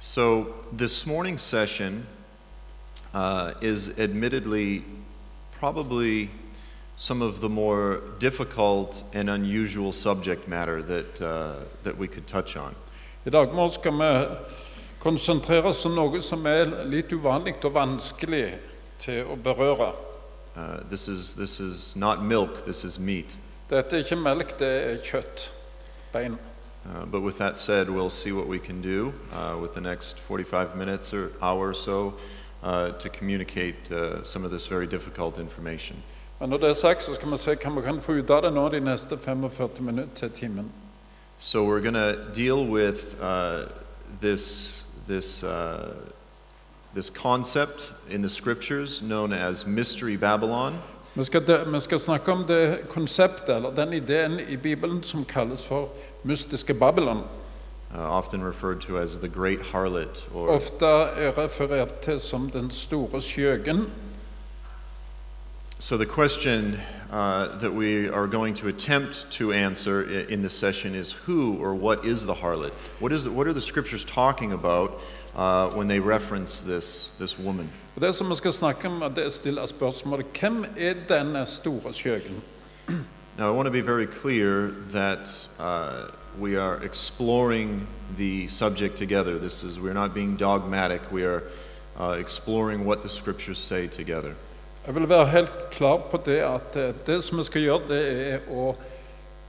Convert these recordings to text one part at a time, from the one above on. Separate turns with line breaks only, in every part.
So, this morning's session uh, is admittedly probably some of the more difficult and unusual subject matter that, uh, that we could touch on.
I dag morgen skal vi konsentrere oss om noe som er litt uvanlig og vanskelig til å berøre.
Uh, this, is, this is not milk, this is meat.
Dette er ikke melk, det er kjøtt. Bein.
Uh, but with that said, we'll see what we can do uh, with the next 45 minutes or hour or so uh, to communicate uh, some of this very difficult information.
Men når det er sagt, så skal vi se hva vi kan få ut av det nå de neste 45 minutter til timen.
So we're going to deal with uh, this this uh, this concept in the scriptures known as mystery Babylon,
Vi skal, de, vi skal snakke om det konseptet, eller den ideen i Bibelen som kalles for mystiske Babylon.
uh, often referred to as the Great Harlot, or
Ofte er referert til som den store skjøgen.
so. The question uh, that we are going to attempt to answer i- in this session is who or what is the harlot? What is what are the scriptures talking about uh, when they reference this this woman?
Og Det som vi skal snakke om, det er å stille spørsmålet hvem er denne store skjøgen?
Now, I want to be very clear that uh, we are exploring the subject together. This is, we're not being dogmatic, we are uh, exploring what the scriptures say together.
Jeg vil være helt klar på det at eh, det som vi skal gjøre, det er å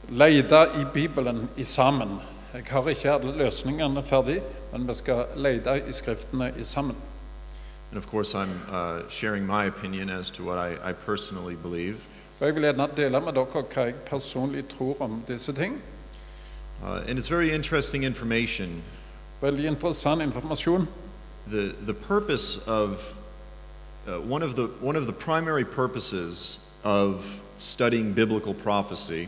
lete i Bibelen i sammen. Jeg har ikke alle løsningene ferdig, men vi skal lete i Skriftene i sammen.
And of course, I'm uh, sharing my opinion as to what I, I personally believe.
Og Jeg vil gjerne dele med dere hva jeg personlig tror om disse ting.
Uh, and it's very interesting information.
Veldig interessant informasjon.
The, the purpose of uh, one, of the, one of the primary purposes of studying biblical prophecy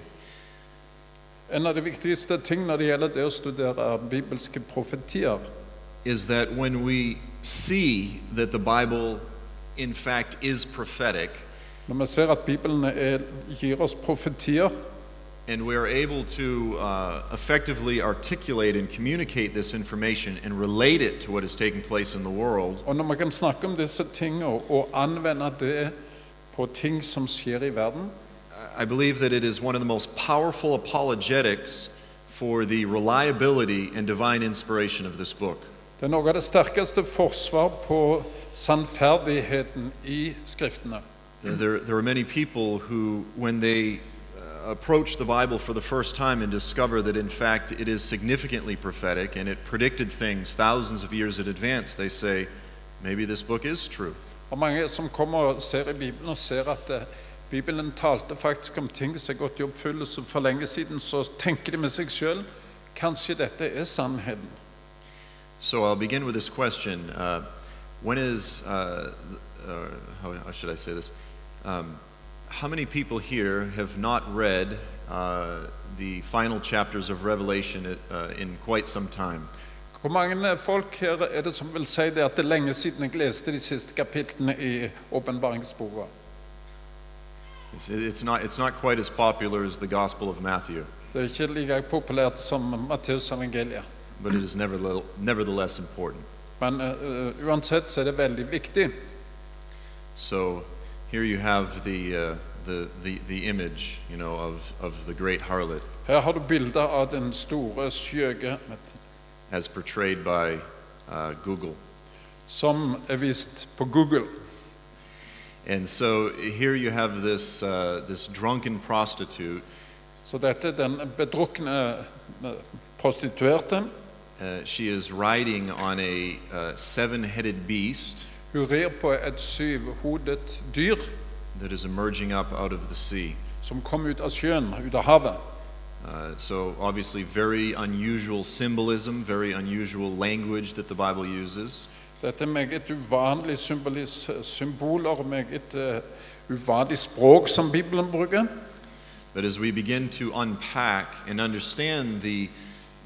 En av de viktigste tingene når det gjelder det å studere bibelske profetier,
is that when we see that the Bible, in fact, is prophetic,
når vi ser at Bibelen er, gir oss profetier,
and we are able to uh, effectively articulate and communicate this information and relate it to what is taking place in the world,
Og når vi kan snakke om disse tingene og anvende det på ting som skjer i verden,
I believe that it is one of the most powerful apologetics for the reliability and divine inspiration of this book.
det er noe av det sterkeste forsvar på sannferdigheten i Skriftene.
There, there are many people who, when they uh, approach the Bible for the first time and discover that, in fact, it is significantly prophetic and it predicted things thousands of years in advance, they say, maybe this book is true.
Og mange som kommer og ser i Bibelen og ser at eh, Bibelen talte faktisk om ting som er gått i oppfyllelse for lenge siden, så tenker de med seg sjøl kanskje dette er sannheten.
So I'll begin with this question uh, When is, uh, or how, how should I say this? Um, how many people here have not read uh, the final chapters of Revelation uh, in quite some time?
Hvor mange eh, folk her er det som vil si det at det er lenge siden jeg leste de siste kapitlene i åpenbaringsboka?
It's, it's, not, it's not quite as popular as the Gospel of Matthew,
Det er ikke like populært som Matteus evangeliet.
but it is nevertheless, nevertheless important.
Men eh, uansett så er det veldig viktig.
So here you have the, uh, the, the, the image, you know, of, of the great harlot
Her har du bilder av den store skjøge
as portrayed by uh, Google.
som er vist på Google.
And so here you have this, uh, this drunken prostitute
Så dette er den bedrukne eh, prostituerte.
Uh, she is riding on a uh, seven headed beast
Hun rir på et syvhodet dyr
that is emerging up out of the sea.
som kom ut av sjøen, ut av havet.
Uh, so, obviously, very unusual symbolism, very unusual language that the Bible uses.
Dette er meget uvanlige symbolis- symboler, meget eh, uvanlig språk som Bibelen bruker.
But as we begin to unpack and understand the,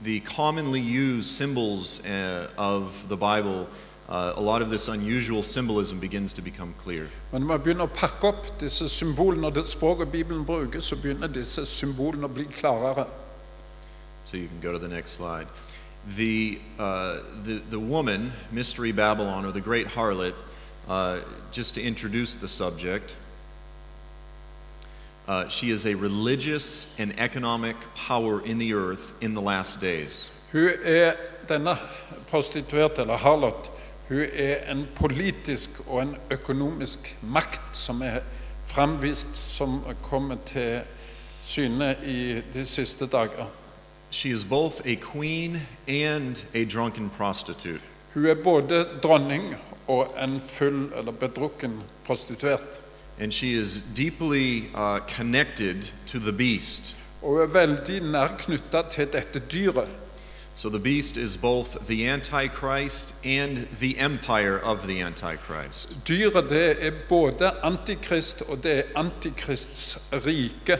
the commonly used symbols uh, of the Bible, uh, a lot of this unusual symbolism begins to become clear.
Men når man begynner å pakke opp disse symbolene og det språket Bibelen bruker, så begynner disse symbolene å bli klarere.
So you can go to the next slide. the, uh, the, the woman, Mystery Babylon, or the great harlot, uh, just to introduce the subject, uh, she is a religious and economic power in the earth in the last days.
Hun er denne prostituerte, eller Harlot, hun er en politisk og en økonomisk makt som er framvist, som kommer til syne i de siste dager.
She is both a queen and a drunken prostitute.
Hun er både dronning og en full eller bedrukken prostituert.
And she is deeply uh, connected to the beast.
Og hun er veldig nær knytta til dette dyret.
So the beast is both the Antichrist and the empire of the Antichrist.
Dyret det er både antikrist og det er antikrists rike.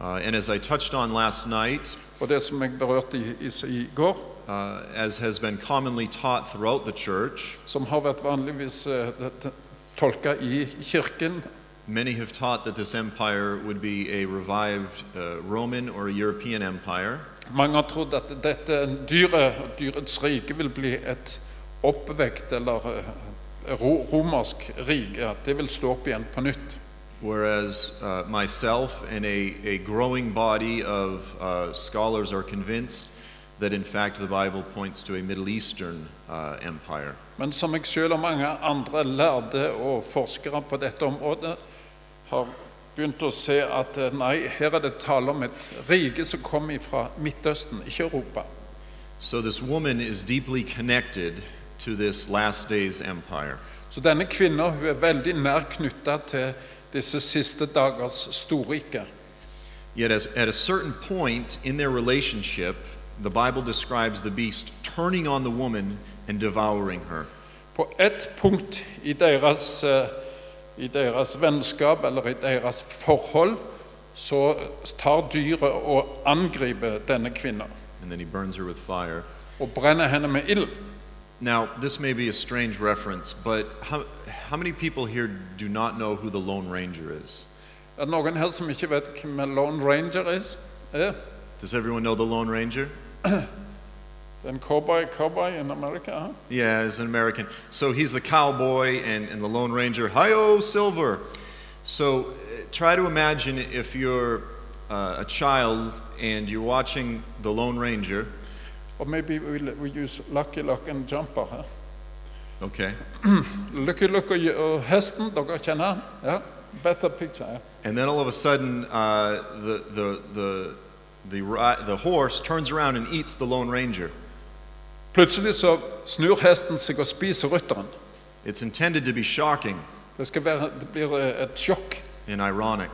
Uh, and as I touched on last night,
Og det som jeg berørte i, i, i går,
uh, as has been commonly taught throughout the church,
som har vært vanligvis eh, det- det- tolka i kirken,
many have taught that this empire would be a revived uh, Roman or European empire.
mange har trodd at dette dyret og dyrets rike vil bli et oppvekt eller eh, ro- romersk rike, at det vil stå opp igjen på nytt.
Whereas uh, myself and a, a growing body of uh, scholars are convinced that in fact the Bible points to a Middle Eastern uh, empire.
Men som jeg selv og mange andre lærde og forskere på dette området har begynt å se at eh, nei, her er det tale om et rike som kommer fra Midtøsten, ikke Europa.
So this woman is deeply connected to this last days empire.
Så denne kvinnen hun er veldig nær knytta til disse siste dagers storrike.
Yet as, at a certain point in their relationship, the Bible describes the beast turning on the woman and devouring her.
På ett punkt i deres, eh, i deres vennskap eller i deres forhold så tar dyret og angriper denne kvinnen
And then he burns her with fire.
og brenner henne med ild.
Now, this may be a strange reference, but how, how many people here do not know who the Lone Ranger is?
Er det noen her som ikke vet hvem en Lone Ranger is? er?
Does everyone know the Lone Ranger?
Det er en cowboy, cowboy in America. hæ?
Yeah, he's an American. So he's the cowboy and, and the Lone Ranger. Hi-oh, Silver. So uh, try to imagine if you're uh, a child and you're watching the Lone Ranger.
Og maybe we'll, we use Lucky Luck and Jumper. hæ?
Okay.
Lucky Luck og, og hesten, dere kjenner? han? Ja? Better picture. ja.
And then all of a sudden, uh, the, the, the, the, ri- the horse turns around and eats the Lone Ranger.
Plutselig så snur hesten seg og spiser rytteren.
It's intended to be shocking
Det, skal være, det blir eh, et sjokk
and ironic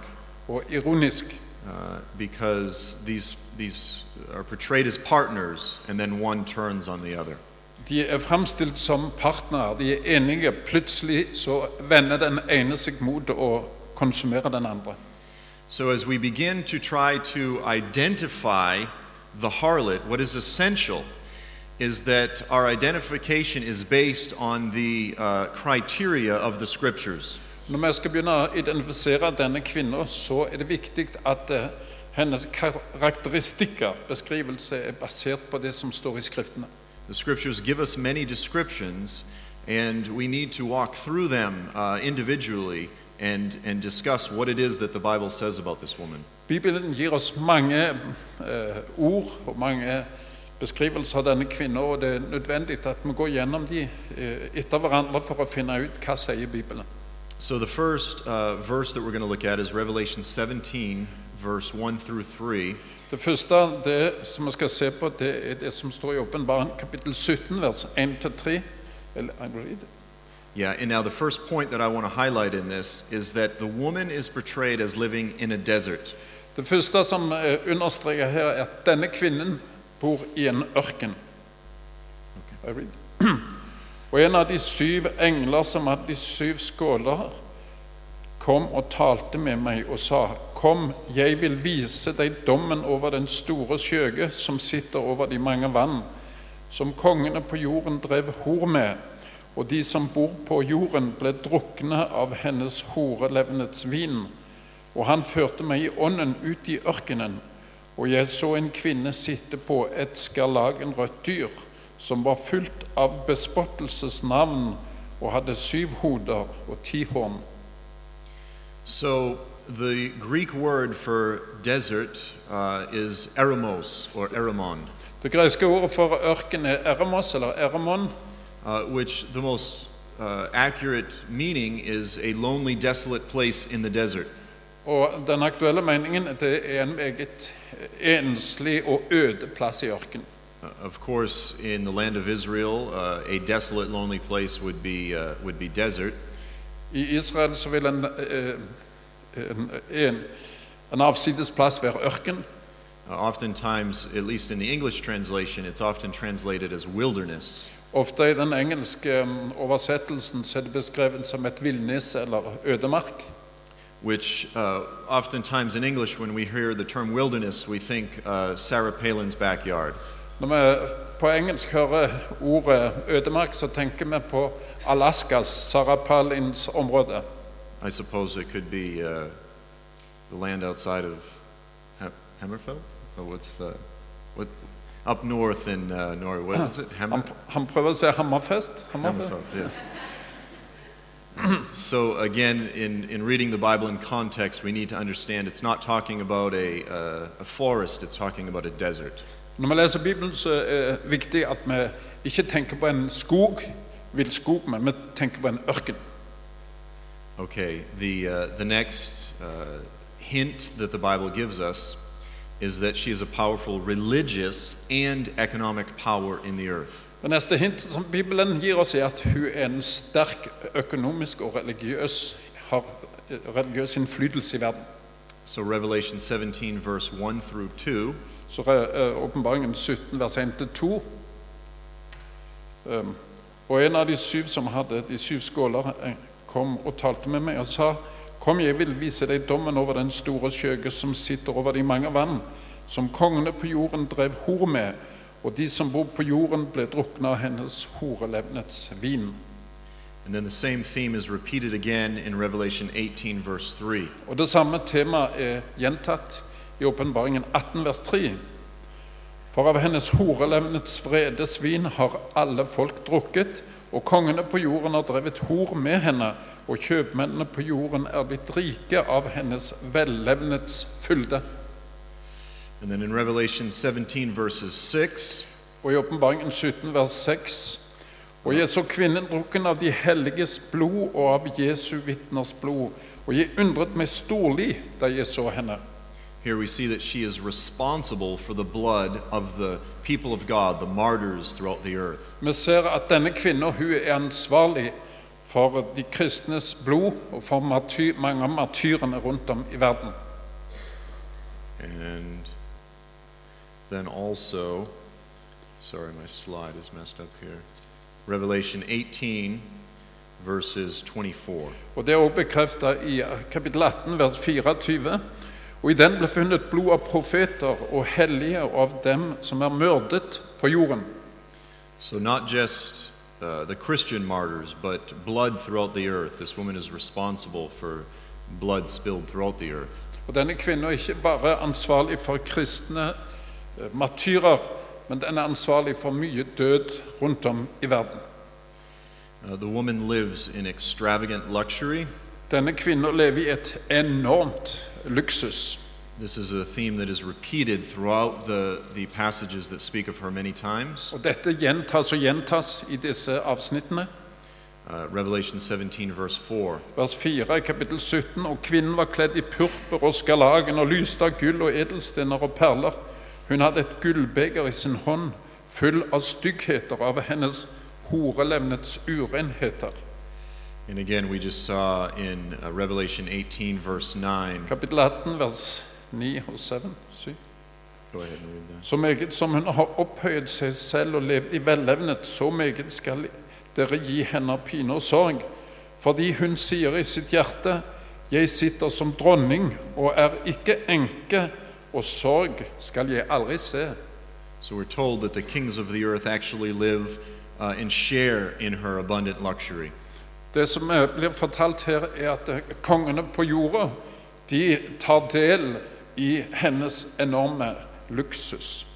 og ironisk.
uh, because these, these are portrayed as partners and then one turns on the other.
De er framstilt som partnere, de er enige. Plutselig så vender den ene seg mot å konsumere den andre.
So, as we begin to try to identify the harlot, what is essential is that our identification is based on the uh, criteria of the scriptures.
Når vi skal begynne å identifisere denne kvinnen, så er det viktig at eh, hennes karakteristikker, beskrivelse, er basert på det som står i Skriftene.
The scriptures give us many descriptions, and we need to walk through them uh, individually and, and discuss what it is that the Bible says about this woman.
Bibelen gir oss mange eh, ord og mange beskrivelser av denne kvinnen, og det er nødvendig at vi går gjennom de eh, etter hverandre for å finne ut hva sier Bibelen.
So, the first uh, verse that we're going to look at is Revelation 17, verse 1 through 3.
Det første det som vi skal se på, det er det som står i Åpenbaringen kapittel 17, vers 1-3. Eller, I read it.
Yeah, and now the first point that I want to highlight in this is that the woman is portrayed as living in a desert.
Det første som eh, understreker her, er at denne kvinnen bor i en ørken. I read. Og en av de syv engler som hadde de syv skåler, kom og talte med meg og sa, Kom, jeg vil vise deg dommen over den store skjøge som sitter over de mange vann, som kongene på jorden drev hor med, og de som bor på jorden ble drukne av hennes horelevnets vin. Og han førte meg i ånden ut i ørkenen, Og jeg så en kvinne sitte på et skarlagenrødt dyr som var fylt av bespottelsesnavn og hadde syv hoder og ti horn.
So the Greek word for desert uh, is eremos or eremon,
Det greske ordet for ørken er eremos, eller eremon,
uh, which the most uh, accurate meaning is a lonely, desolate place in the desert.
og den aktuelle meningen det er en meget enslig og øde plass i ørken.
Uh, of course, in the land of Israel, uh, a desolate, lonely place would be uh, would be desert.
I Israel så vil en, eh, en, en, en avsides plass være ørken,
Uh, oftentimes, at least in the English translation, it's often translated as wilderness.
Ofte i den engelske mm, oversettelsen så er det beskrevet som et villnis eller ødemark.
Which uh, oftentimes in English, when we hear the term wilderness, we think uh, Sarah Palin's backyard.
Når vi på engelsk hører ordet ødemark, så tenker vi på Alaskas, Sarah Palins område.
I suppose it could be uh, the land outside of ha- Hammerfeld. Or what's the what up north in uh, Norway? What is it? Hammer-
Han, han prøver å si Hammerfest. Hammerfest.
yes. so again, in, in reading the Bible in context, we need to understand it's not talking about a, uh, a forest, it's talking about a desert.
Når vi leser Bibelen, så er det viktig at vi ikke tenker på en skog, vill skog, men vi tenker på en ørken.
Okay, the, uh, the next uh, hint that the Bible gives us is that she is a powerful religious and economic power in the earth.
Det neste hint som Bibelen gir oss, er at hun er en sterk økonomisk og religiøs, har religiøs innflytelse i verden.
So, Revelation 17, verse 1 through 2,
Så eh, åpenbaringen 17, vers 1-2. Um, og en av de syv som hadde de syv skåler, eh, kom og talte med meg og sa, Kom, jeg vil vise deg dommen over den store skjøge som sitter over de mange vann, som kongene på jorden drev hor med, og de som bor på jorden ble drukna av hennes horelevnets vin.
and then the same theme is repeated again in Revelation 18, verse 3.
Og det samme temaet er gjentatt i åpenbaringen 18 vers 3. For av hennes horelevnets vrede svin har alle folk drukket, og kongene på jorden har drevet hor med henne, og kjøpmennene på jorden er blitt rike av hennes vellevnets fylde.
And then in Revelation 17, verses 6,
Og i åpenbaringen 17, vers 6. Og jeg så kvinnen drukken av de helliges blod og av Jesu vitners blod, og jeg undret meg storlig da jeg så henne.
Here we see that she is responsible for the blood of the people of God, the martyrs throughout the earth.
Vi ser at denne kvinnen hun er ansvarlig for de kristnes blod og for marty mange av martyrene rundt om i verden.
And then also, sorry, my slide is messed up here. Revelation 18, verses 24.
Og Det er også bekreftet i kapittel 18, vers 24. Og i den ble funnet blod av profeter og hellige og av dem som er myrdet på jorden.
So, not just uh, the Christian martyrs, but blood throughout the earth. This woman is responsible for blood spilled throughout the earth.
Og denne kvinnen er ikke bare ansvarlig for kristne eh, martyrer, men den er ansvarlig for mye død rundt om i verden.
Uh, the woman lives in extravagant luxury.
Denne kvinnen lever i et enormt luksus.
This is a theme that is repeated throughout the, the passages that speak of her many times.
Og dette gjentas og gjentas i disse avsnittene.
Uh, Revelation 17, verse 4.
Vers 4 i kapittel 17. Og kvinnen var kledd i purpur og skarlagen og lyste av gull og edelstener og perler. Hun hadde et gullbeger i sin hånd, full av styggheter av hennes horelevnets urenheter.
And again, we just saw in uh, Revelation 18, verse 9.
Kapittel 18, vers 9 og 7. 7.
Go ahead and read that.
Så meget som hun har opphøyet seg selv og levd i vellevnet, så meget skal dere gi henne pine og sorg. Fordi hun sier i sitt hjerte, jeg sitter som dronning og er ikke enke, og sorg skal jeg aldri se.
So we're told that the kings of the earth actually live uh, and share in her abundant luxury.
Det som eh, blir fortalt her, er at eh, kongene på jorda de tar del i hennes enorme luksus.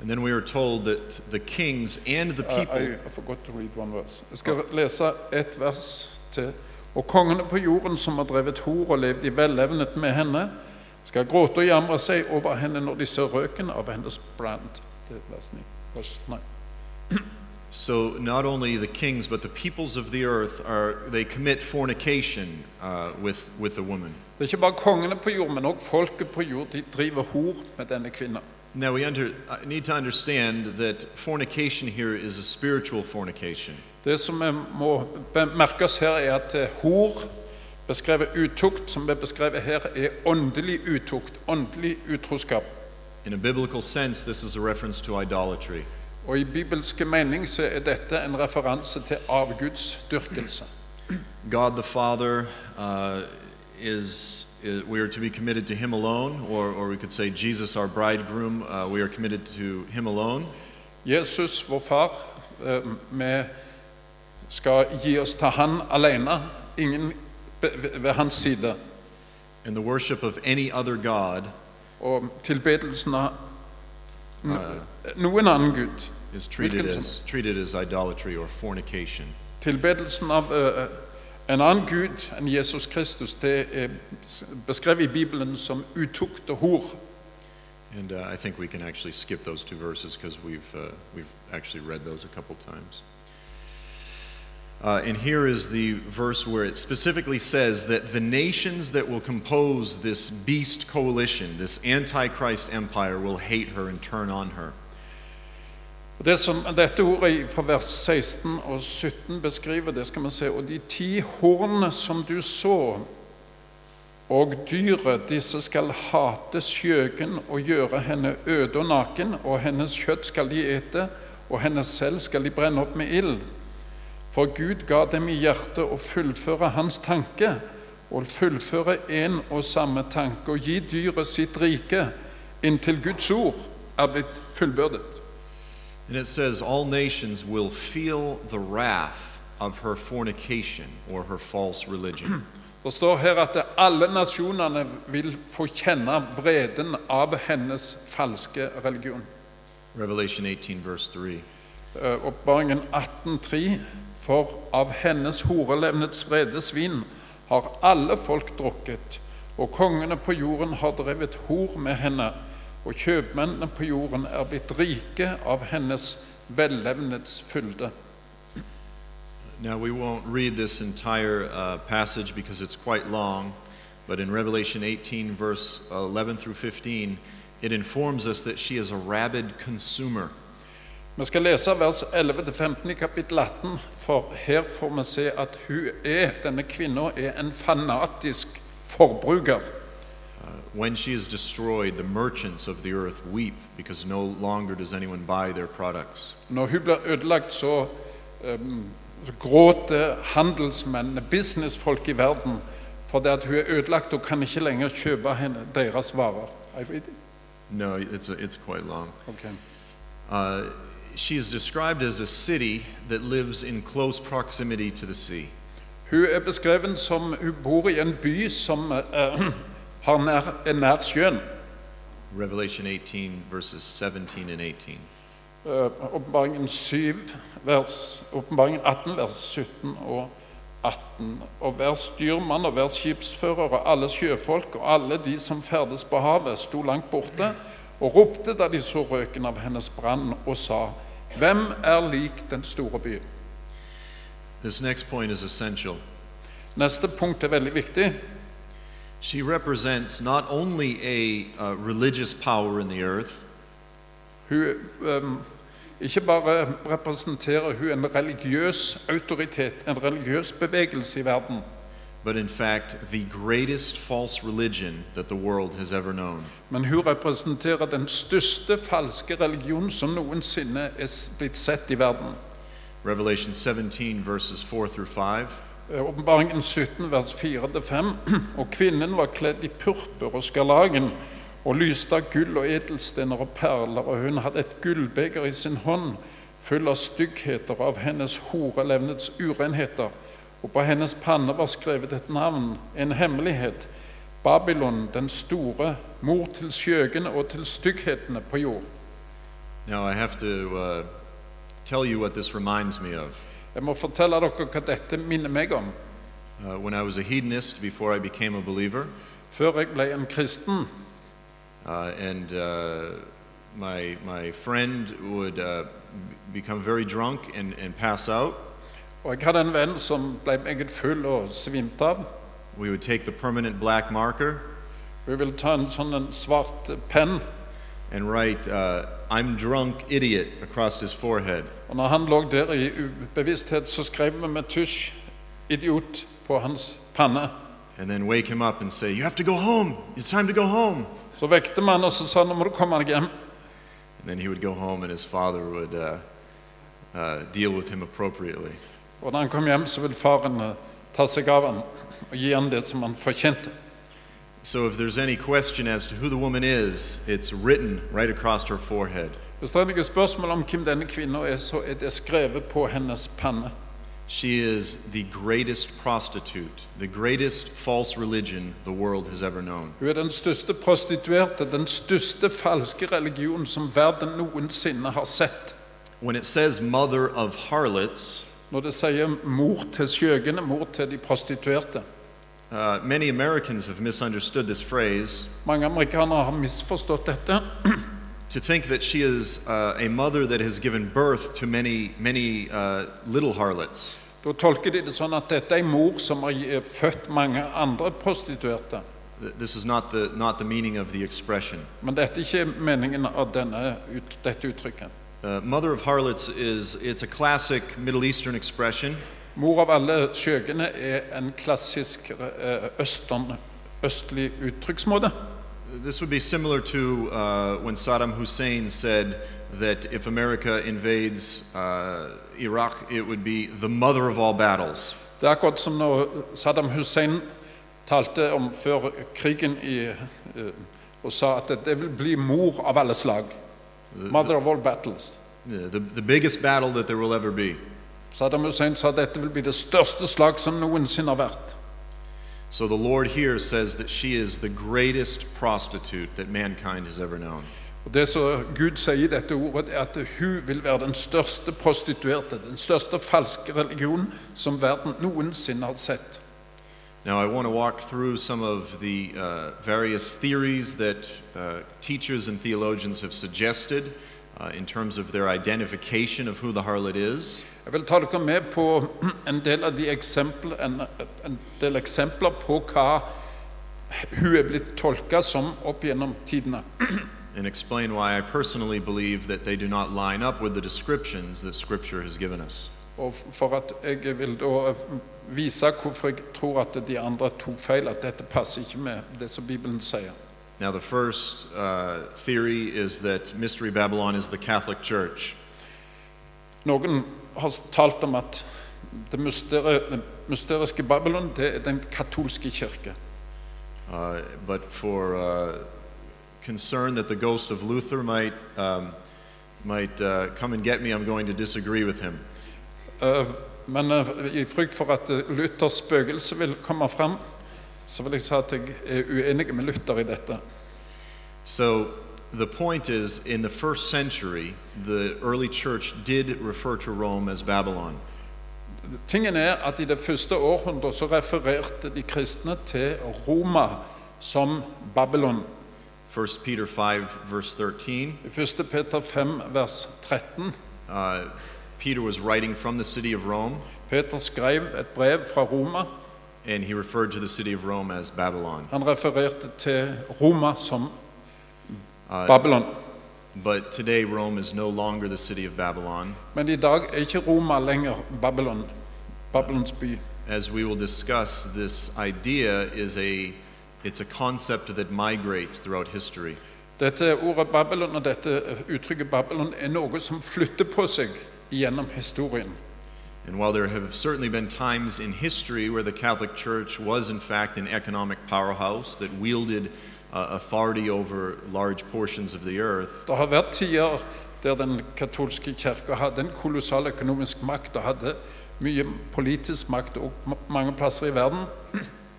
And then we are told that the kings and the
I,
people.
I- I forgot to read one verse. Jeg skal lese et vers til. Og kongene på jorden som har drevet hor og levd i velevnet med henne, skal gråte og jamre seg over henne når de ser røken av hennes brand. Det er vers 9. Vers 9.
So not only the kings, but the peoples of the earth are they commit fornication uh, with with the woman.
Det er ikke bare kongene på jord, men òg folket på jord. De driver hor med denne kvinna.
Now we under, I need to understand that fornication here is a spiritual fornication.
Det som vi må merke oss her, er at eh, hor, beskrevet utukt, som er beskrevet her, er åndelig utukt, åndelig utroskap.
In a biblical sense, this is a reference to idolatry.
Og i bibelske mening så er dette en referanse til avgudsdyrkelse.
God the Father uh, is, is we are to be committed to Him alone, or or we could say Jesus, our bridegroom. Uh, we are committed to Him alone.
Jesus, vår far, eh, vi skal gi oss til han alene, ingen be- ved ved hans side.
And the worship of any other god
Og tilbedelsen av no- noen annen gud.
is treated
Hvilken som-
as treated as idolatry or fornication.
Tilbedelsen av eh, en annen gud enn Jesus Kristus, det er s- beskrevet i Bibelen som utukt og hor.
And uh, I think we can actually skip those two verses because we've, uh, we've actually read those a couple times. Uh, and here is the verse where it specifically says that the nations that will compose this beast coalition, this Antichrist empire, will hate her and turn on her.
Og Det som dette ordet fra vers 16 og 17 beskriver, det skal vi se. Og de ti horn som du så, og dyret, disse skal hate skjøgen og gjøre henne øde og naken, og hennes kjøtt skal de ete, og henne selv skal de brenne opp med ild. For Gud ga dem i hjertet å fullføre hans tanke, å fullføre en og samme tanke, og gi dyret sitt rike, inntil Guds ord er blitt fullbyrdet.
And it says, All nations will feel the wrath of her fornication or her false religion.
Det står her at alle nasjonene vil få kjenne vreden av hennes falske religion.
Revelation 18, verse 3.
Eh, Oppbaringen 18.3. For av hennes horelevnets vrede svin har alle folk drukket, og kongene på jorden har drevet hor med henne, og kjøpmennene på jorden er blitt rike av hennes vellevnets fylde.
Now, we won't read this entire uh, passage because it's quite long, but in Revelation 18, verse 11 through 15, it informs us that she is a rabid consumer.
Vi skal lese vers 11-15 i kapittel 18, for her får vi se at hun er, denne kvinna er en fanatisk forbruker.
When she is destroyed, the merchants of the earth weep because no longer does anyone buy their products.
Når hun blir ødelagt, så um, gråter handelsmennene, businessfolk i verden, fordi at hun er ødelagt og kan ikke lenger kjøpe henne, deres varer. Er det riktig?
No, it's, it's quite long.
Ok.
Uh, she is described as a city that lives in close proximity to the sea.
Hun er beskrevet som hun bor i en by som eh, har nær, er nær sjøen.
Revelation 18, verses 17 and 18.
Eh, Åpenbaringen 7, vers, åpenbaringen 18, vers 17 og 18. Og hver styrmann og hver skipsfører og alle sjøfolk og alle de som ferdes på havet, sto langt borte og ropte da de så røken av hennes brann, og sa:" Hvem er lik den store by?
This next point is essential.
Neste punkt er veldig viktig.
She represents not only a uh, religious power in the earth,
Hun ehm, ikke bare representerer hun en religiøs autoritet, en religiøs bevegelse i verden.
but in fact the greatest false religion that the world has ever known.
Men hun representerer den største falske religion som noensinne er s- blitt sett i verden.
Revelation 17, verses 4 through 5.
Eh, Åpenbaringen 17, vers 4-5. Og kvinnen var kledd i purpur og skarlagen og lyste av gull og edelstener og perler, og hun hadde et gullbeger i sin hånd full av styggheter og av hennes horelevnets urenheter. Og på hennes panne var skrevet et navn, en hemmelighet, Babylon den store, mor til skjøgene og til stygghetene på jord.
Now, I have to uh, tell you what this reminds me of.
Jeg må fortelle dere hva dette minner meg om.
Uh, when I was a hedonist before I became a believer,
Før jeg ble en kristen,
uh, and uh, my, my friend would uh, b- become very drunk and, and pass out,
og jeg hadde en venn som ble meget full og svimte av.
we would take the permanent black marker
Vi ville ta en sånn en svart penn,
and write, uh, I'm drunk, idiot, across his forehead.
og når han lå der i ubevissthet, så skrev vi med tusj 'idiot' på hans panne.
And then wake him up and say, You have to go home. It's time to go home.
Så vekte vi han og så sa han, 'nå må du komme deg hjem'.
And then he would go home, and his father would uh, uh, deal with him appropriately.
Og når han kom hjem, så ville faren eh, ta seg av han og gi han det som han fortjente.
So, if there's any question as to who the woman is, it's written right across her forehead.
Hvis det er noen spørsmål om hvem denne kvinna er, så er det skrevet på hennes panne.
She is the greatest prostitute, the greatest false religion the world has ever known.
Hun er den største prostituerte, den største falske religion som verden noensinne har sett.
When it says mother of harlots,
Når det sier 'mor til skjøgene', 'mor til de prostituerte'
uh, many Americans have misunderstood this phrase
Mange amerikanere har misforstått dette.
to think that she is uh, a mother that has given birth to many, many uh, little harlots.
Da tolker de det sånn at dette er en mor som har eh, født mange andre prostituerte.
Th- This is not the, not the meaning of the expression.
Men dette er ikke meningen av denne, ut, dette uttrykket.
Uh, mother of harlots is it's a classic Middle Eastern expression.
Mor av alle skjøgene er en klassisk eh, østern, østlig uttrykksmåte.
This would be similar to uh, when Saddam Hussein said that if America invades uh, Iraq, it would be the mother of all battles.
Det er akkurat som når Saddam Hussein talte om før krigen i, eh, og sa at det vil bli mor av alle slag. Mother of all battles.
The, the, the biggest battle that there will ever be.
Saddam Hussein sa at dette vil bli det største slag som noensinne har vært.
So the Lord here says that she is the greatest prostitute that mankind has ever known.
Og Det som Gud sier i dette ordet, er at hun vil være den største prostituerte, den største falske religionen som verden noensinne har sett.
Now, I want to walk through some of the uh, various theories that uh, teachers and theologians have suggested uh, in terms of their identification of who the harlot is.
Jeg vil ta dere med på en del, av de eksempler, en, en del eksempler på hva hun er blitt tolka som opp gjennom tidene.
and explain why I personally believe that they do not line up with the descriptions that Scripture has given us.
Og f- for at jeg vil da vise hvorfor jeg tror at de andre tok feil, at dette passer ikke med det som Bibelen sier.
Now, the first uh, theory is that Mystery Babylon is the Catholic Church.
Noen har talt om at det mysteri- det mysteriske Babylon det er den katolske kirke.
Uh, but for uh, concern that the ghost of Luther might, um, might uh, come and get me, I'm going to disagree with him.
Eh, Men eh, i frykt for at eh, Luthers spøkelse vil komme fram, så vil jeg si at jeg er uenig med Luther i dette.
So, the point is, in the first century, the early church did refer to Rome as Babylon.
Tingen er at i det første århundret så refererte de kristne til Roma som Babylon.
1 Peter 5, verse 13.
I 1. Peter 5, vers 13.
Uh, Peter was writing from the city of Rome,
Peter skrev et brev fra Roma.
and he referred to the city of Rome as Babylon.
Han refererte til Roma som
Uh,
Babylon.
but today, Rome is no longer the city of Babylon.
Men i dag er ikke Roma lenger Babylon, Babylons by.
As we will discuss, this idea is a it's a concept that migrates throughout history.
Dette ordet Babylon og dette uttrykket Babylon er noe som flytter på seg gjennom historien.
And while there have certainly been times in history where the Catholic Church was, in fact, an economic powerhouse that wielded uh, authority over large portions of the earth,
Det har vært tider der den katolske kirka hadde en kolossal økonomisk makt og hadde mye politisk makt og ma- mange plasser i verden.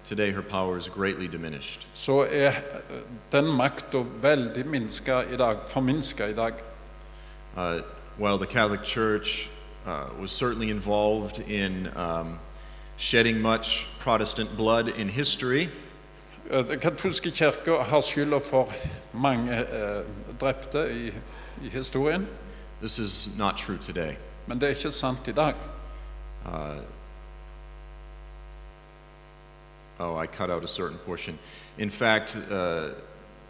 Today, her power is greatly diminished.
så er eh, den makta veldig minska i dag, forminska i dag.
Uh, while the Catholic Church uh, was certainly involved in um, shedding much Protestant blood in history,
Eh, Den katolske kirka har skylda for mange eh, drepte i, i historien,
this is not true today.
men det er ikke sant i dag.
Uh, oh, I cut out a certain portion. In fact, uh,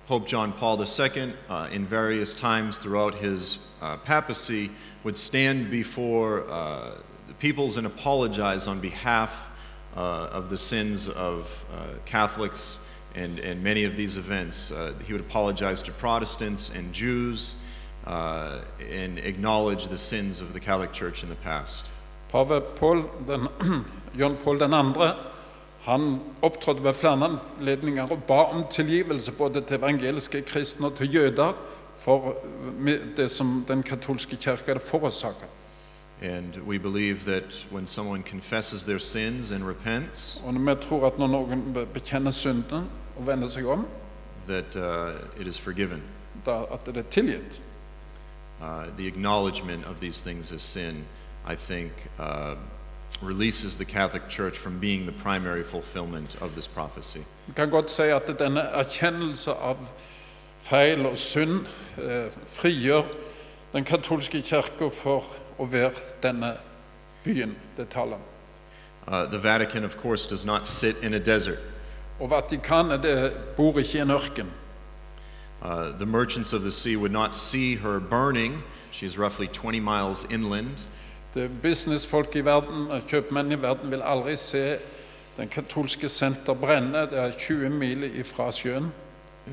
Pope John Paul II, uh, in various times throughout his uh, papacy, would stand before uh, the peoples and apologize on behalf uh, of the sins of uh, Catholics and, and many of these events. Uh, he would apologize to Protestants and Jews uh, and acknowledge the sins of the Catholic Church in the past.
Pave Paul den, John Paul 2. Han opptrådte ved flere anledninger og ba om tilgivelse både til evangeliske kristne og til jøder for med det som den katolske kirka hadde forårsaka.
And we believe that when someone confesses their sins and repents,
Og vi tror at når noen be- bekjenner synden og vender seg om,
that uh, it is forgiven.
da at det er tilgitt.
Uh, the acknowledgement of these things as sin, I think, uh, releases the Catholic Church from being the primary fulfillment of this prophecy.
Vi kan godt si at denne erkjennelse av feil og synd eh, frigjør den katolske kirka for å være denne byen det er tale om.
Uh, the Vatican, of course, does not sit in a desert.
Og Vatikanet det bor ikke i en ørken.
Uh, the merchants of the sea would not see her burning. She's roughly 20 miles inland.
Det er Businessfolk i verden, kjøpmenn i verden, vil aldri se den katolske senter brenne. Det er 20 mil ifra sjøen.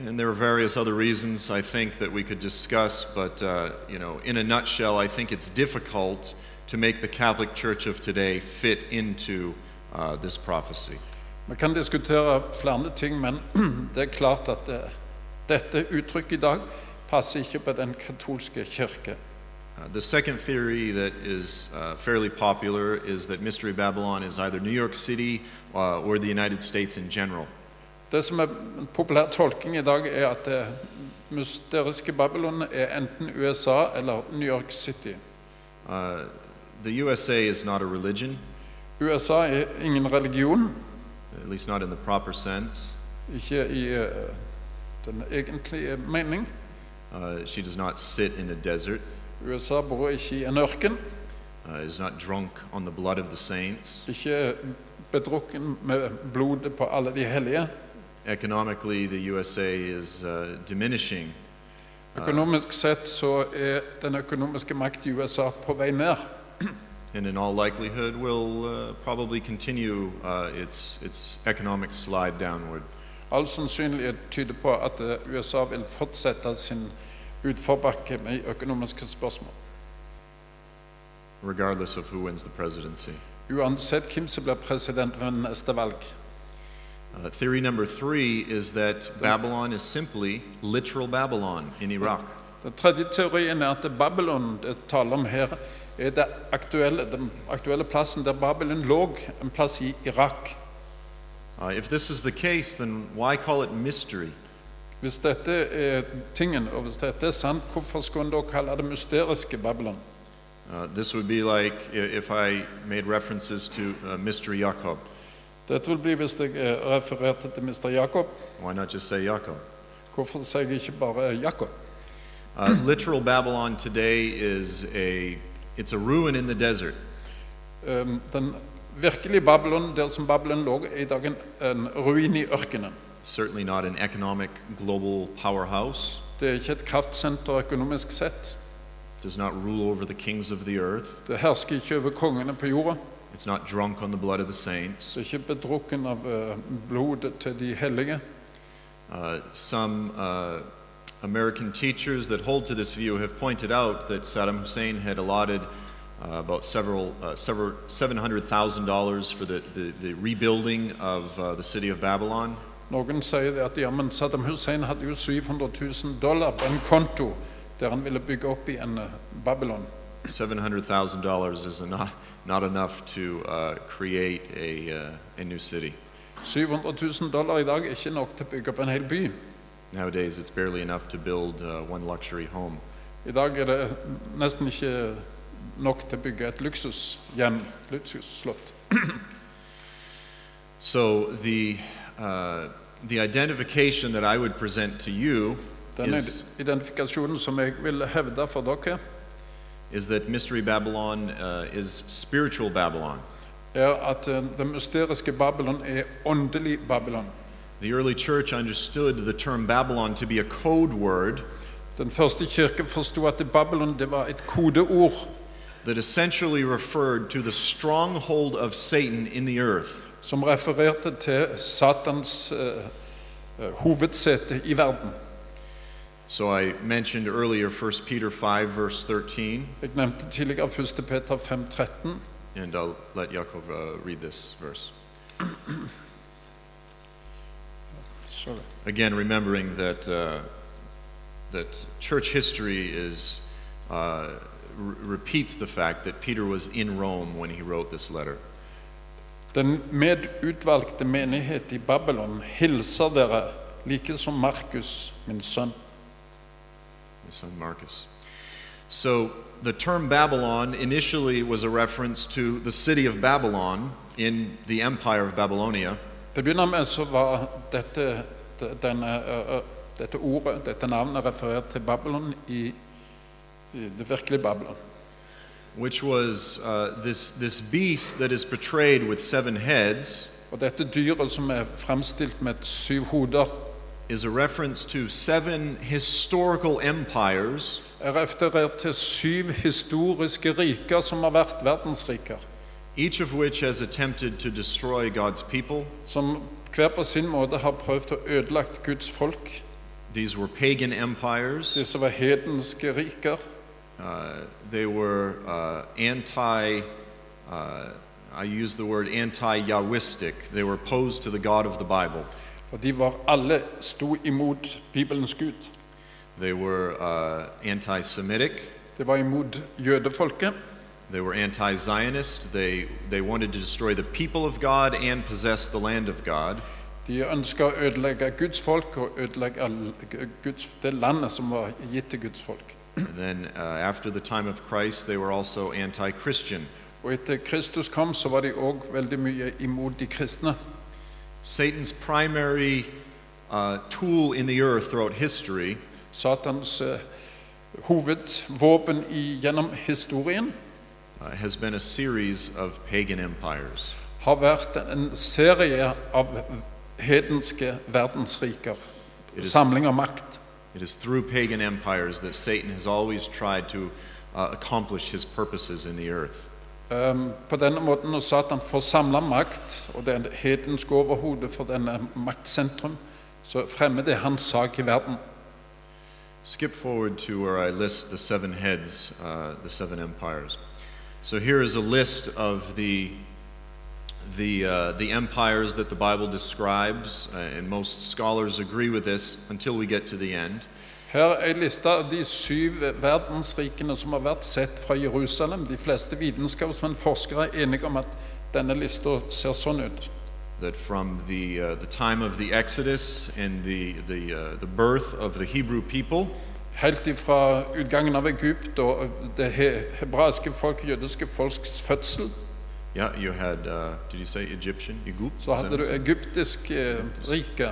And there are various other reasons I think that we could discuss, but uh, you know, in a nutshell, I think it's difficult to make the Catholic Church of today fit into uh, this prophecy.
Vi kan diskutere flere ting, men det er klart at eh, dette uttrykket i dag passer ikke på den katolske kirke.
Uh, the second theory that is uh, fairly popular is that Mystery Babylon is either New York City uh, or the United States in general.
Det som er en populær tolking i dag, er at det mysteriske Babylon er enten USA eller New York City.
Uh, the USA is not a religion,
USA er ingen religion,
at least not in the proper sense.
ikke i eh, den egentlige mening.
Uh, she does not sit in a desert,
USA bor ikke i en ørken,
uh, is not drunk on the blood of the saints.
ikke bedrukken med blodet på alle de hellige.
Economically, the USA is uh, diminishing.
Økonomisk sett så er den økonomiske makt i USA på vei ned.
And in all likelihood, will uh, probably continue uh, its, its economic slide downward.
All sannsynlighet tyder på at eh, USA vil fortsette sin utforbakke med økonomiske spørsmål.
regardless of who wins the presidency.
Uansett hvem som blir president ved neste valg.
Uh, theory number three is that Babylon is simply literal Babylon in Iraq.
Den tredje teorien er at Babylon det taler om her, er det aktuelle, den aktuelle plassen der Babylon lå, en plass i Irak.
Uh, if this is the case, then why call it mystery?
Hvis dette er tingen, og hvis dette er sant, hvorfor skulle en da kalle det mysteriske Babylon?
Uh, this would be like i- if I made references to uh, Mystery Jacob.
Dette vil bli hvis jeg eh, refererte til Mr. Jakob.
Why not just say Jacob?
Hvorfor sier jeg ikke bare Jakob?
Uh, literal Babylon today is a it's a ruin in the desert.
Um, Den virkelige Babylon, der som Babylon lå, er i dag en, en ruin i ørkenen.
Certainly not an economic global powerhouse.
Det er ikke et kraftsenter økonomisk sett.
Does not rule over the kings of the earth.
Det hersker ikke over kongene på jorda.
It's not drunk on the blood of the saints.
Det er ikke bedrukken av eh, blodet til de hellige.
Uh, some uh, American teachers that hold to this view have pointed out that Saddam Hussein had allotted uh, about several, uh, several seven hundred thousand dollars for the, the, the rebuilding of uh, the city of Babylon.
Noen sier det at ja, men Saddam Hussein hadde jo 700 000 dollar på en konto der han ville bygge opp igjen eh, Babylon.
Seven hundred thousand dollars is not, not enough to uh, create a, uh, a new city.
700 000 dollar i dag er ikke nok til å bygge opp en hel by.
Nowadays, it's barely enough to build uh, one luxury home.
I dag er det eh, nesten ikke nok til å bygge et luksushjem, luksusslott.
So the uh, the identification that I would present to you
Den
is
identifikasjonen som jeg vil hevde for dere,
is that Mystery Babylon uh, is spiritual Babylon.
er at eh, det mysteriske Babylon er åndelig Babylon.
The early church understood the term Babylon to be a code word
Den første kirke forsto at Babylon det var et kodeord
that essentially referred to the stronghold of Satan in the earth.
som refererte til Satans eh, eh, hovedsete i verden.
So I mentioned earlier 1 Peter 5, verse 13,
Jeg nevnte tidligere 1. Peter 5,13.
and I'll let Yaakov uh, read this verse.
Sorry.
Again, remembering that, uh, that church history is, uh, re- repeats the fact that Peter was in Rome when he wrote this letter.
Den medutvalgte menighet i Babylon hilser dere, like som Markus, min sønn.
his son Marcus. So the term Babylon initially was a reference to the city of Babylon in the empire of Babylonia,
Til å begynne med så var dette, de- denne, ø, ø, dette ordet, dette navnet, referert til Babylon i, i det virkelige Babylon.
which was uh, this, this beast that is portrayed with seven heads,
Og dette dyret som er fremstilt med syv hoder,
is a reference to seven historical empires
er referert til syv historiske riker som har vært verdensriker,
each of which has attempted to destroy God's people.
som hver på sin måte har prøvd å ødelagt Guds folk.
These were pagan empires.
Disse var hedenske riker.
Uh, they were uh, anti, uh, I use the word anti Yahwistic. They were opposed to the God of the Bible.
Og de var alle sto imot Bibelens Gud.
They were uh, anti Semitic.
Det var imot jødefolket.
They were anti Zionist. They, they wanted to destroy the people of God and possess the land of God.
De ønska å ødelegge Guds folk og ødelegge all- Guds, det landet som var gitt til Guds folk.
And then uh, after the time of Christ, they were also anti Christian.
Og etter Kristus kom, så var de òg veldig mye imot de kristne.
Satan's primary uh, tool in the earth throughout history
Satans eh, hovedvåpen i, gjennom historien
uh, has been a series of pagan empires.
har vært en serie av hedenske verdensriker.
It is-
Samling av makt.
It is through pagan empires that Satan has always tried to uh, accomplish his purposes in the earth.
Ehm, På denne måten når Satan får samla makt, og det er hedenske overhodet for denne maktsentrum, så fremmer det hans sak i verden.
Skip forward to where I list the seven heads, uh, the seven empires. So here is a list of the the uh, the empires that the Bible describes, uh, and most scholars agree with this until we get to the end.
Her er ei liste av de syv verdensrikene som har vært sett fra Jerusalem. De fleste vitenskapsmenn forskere er enige om at denne lista ser sånn ut.
That from the uh, the time of the Exodus and the the uh, the birth of the Hebrew people.
Helt ifra utgangen av Egypt og det he- hebraiske folk, jødiske folks fødsel,
Yeah, you had. Uh, did you say Egyptian? Egypt.
så hadde du egyptisk eh, rike,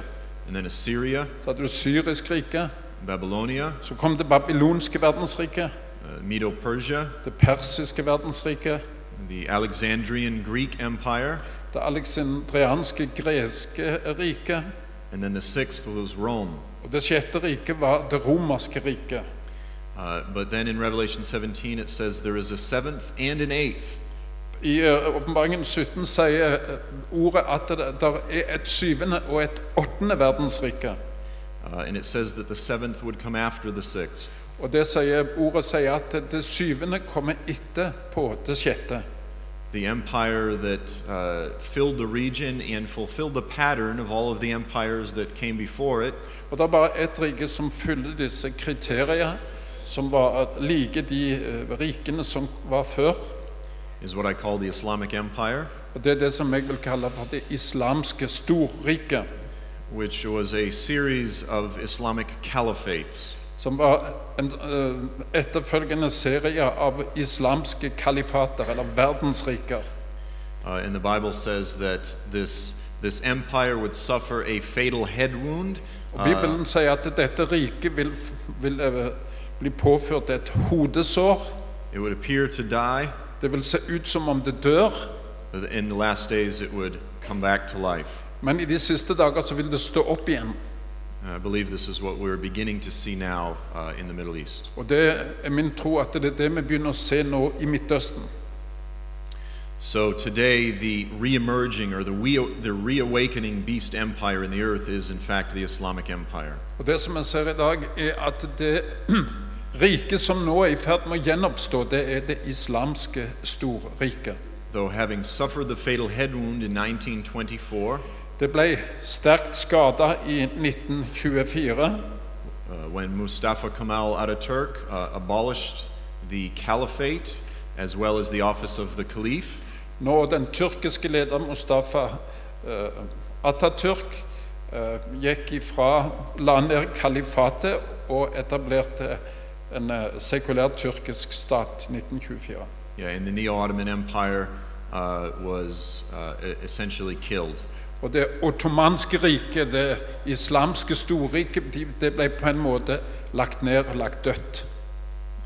and then Assyria,
så hadde du syrisk rike,
Babylonia,
så kom det babylonske verdensriket,
uh, Medo-Persia,
det persiske verdensriket,
the Alexandrian Greek Empire,
det alexandrianske greske riket,
and then the sixth was Rome.
og det sjette riket var det romerske riket.
Uh, but then in Revelation 17 it says there is a seventh and an eighth.
I eh, åpenbaringen 17 sier eh, ordet at det der er et syvende og et åttende verdensrike.
Uh, and it says that the seventh would come after the sixth.
Og det sier, ordet sier at det syvende kommer etter på det sjette.
The empire that uh, filled the region and fulfilled the pattern of all of the empires that came before it
Og det er bare ett rike som fyller disse kriteriene, som var like de eh, rikene som var før.
is what I call the Islamic Empire,
Og Det er det som jeg vil kalle for det islamske storriket,
which was a series of Islamic caliphates.
som var en eh, etterfølgende serie av islamske kalifater, eller verdensriker.
Uh, and the Bible says that this, this empire would suffer a fatal head wound. Uh,
Og Bibelen sier at dette riket vil, f- vil eh, bli påført et hodesår.
It would appear to die,
Det vil se ut som om det dør,
but in the last days it would come back to life.
men i de siste dager så vil det stå opp igjen.
And I believe this is what we're beginning to see now uh, in the Middle East.
Og det er min tro at det er det vi begynner å se nå i Midtøsten.
So today, the reemerging or the, we, the reawakening beast empire in the earth is, in fact, the Islamic Empire.
Og det som jeg ser i dag, er at det riket som nå er i ferd med å gjenoppstå, det er det islamske storriket.
Though having suffered the fatal head wound in uh, 1924,
Det ble sterkt skada i 1924,
uh, when Mustafa Kemal Ataturk uh, abolished the caliphate as well as the office of the caliph,
når den tyrkiske lederen Mustafa eh, Atatürk eh, gikk ifra la ned kalifatet og etablerte en eh, sekulær tyrkisk stat 1924.
yeah, and the Neo Ottoman Empire uh, was uh, e- essentially killed.
Og det ottomanske riket, det islamske storriket, de- det ble på en måte lagt ned, lagt dødt.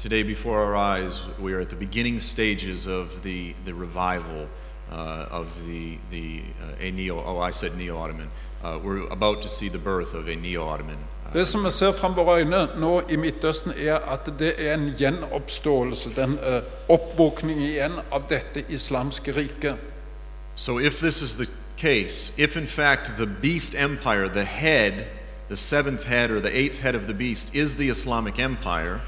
Today, before our eyes, we are at the beginning stages of the, the revival uh, of the, the uh, a neo, oh, I said neo Ottoman. Uh, we're about to see the birth of a neo Ottoman. Uh,
Det som vi ser fram våre øyne nå i Midtøsten, er at det er en gjenoppståelse, den eh, oppvåkning igjen av dette islamske riket.
so, if this is the case, if in fact the beast empire, the head, the seventh head or the eighth head of the beast is the Islamic Empire,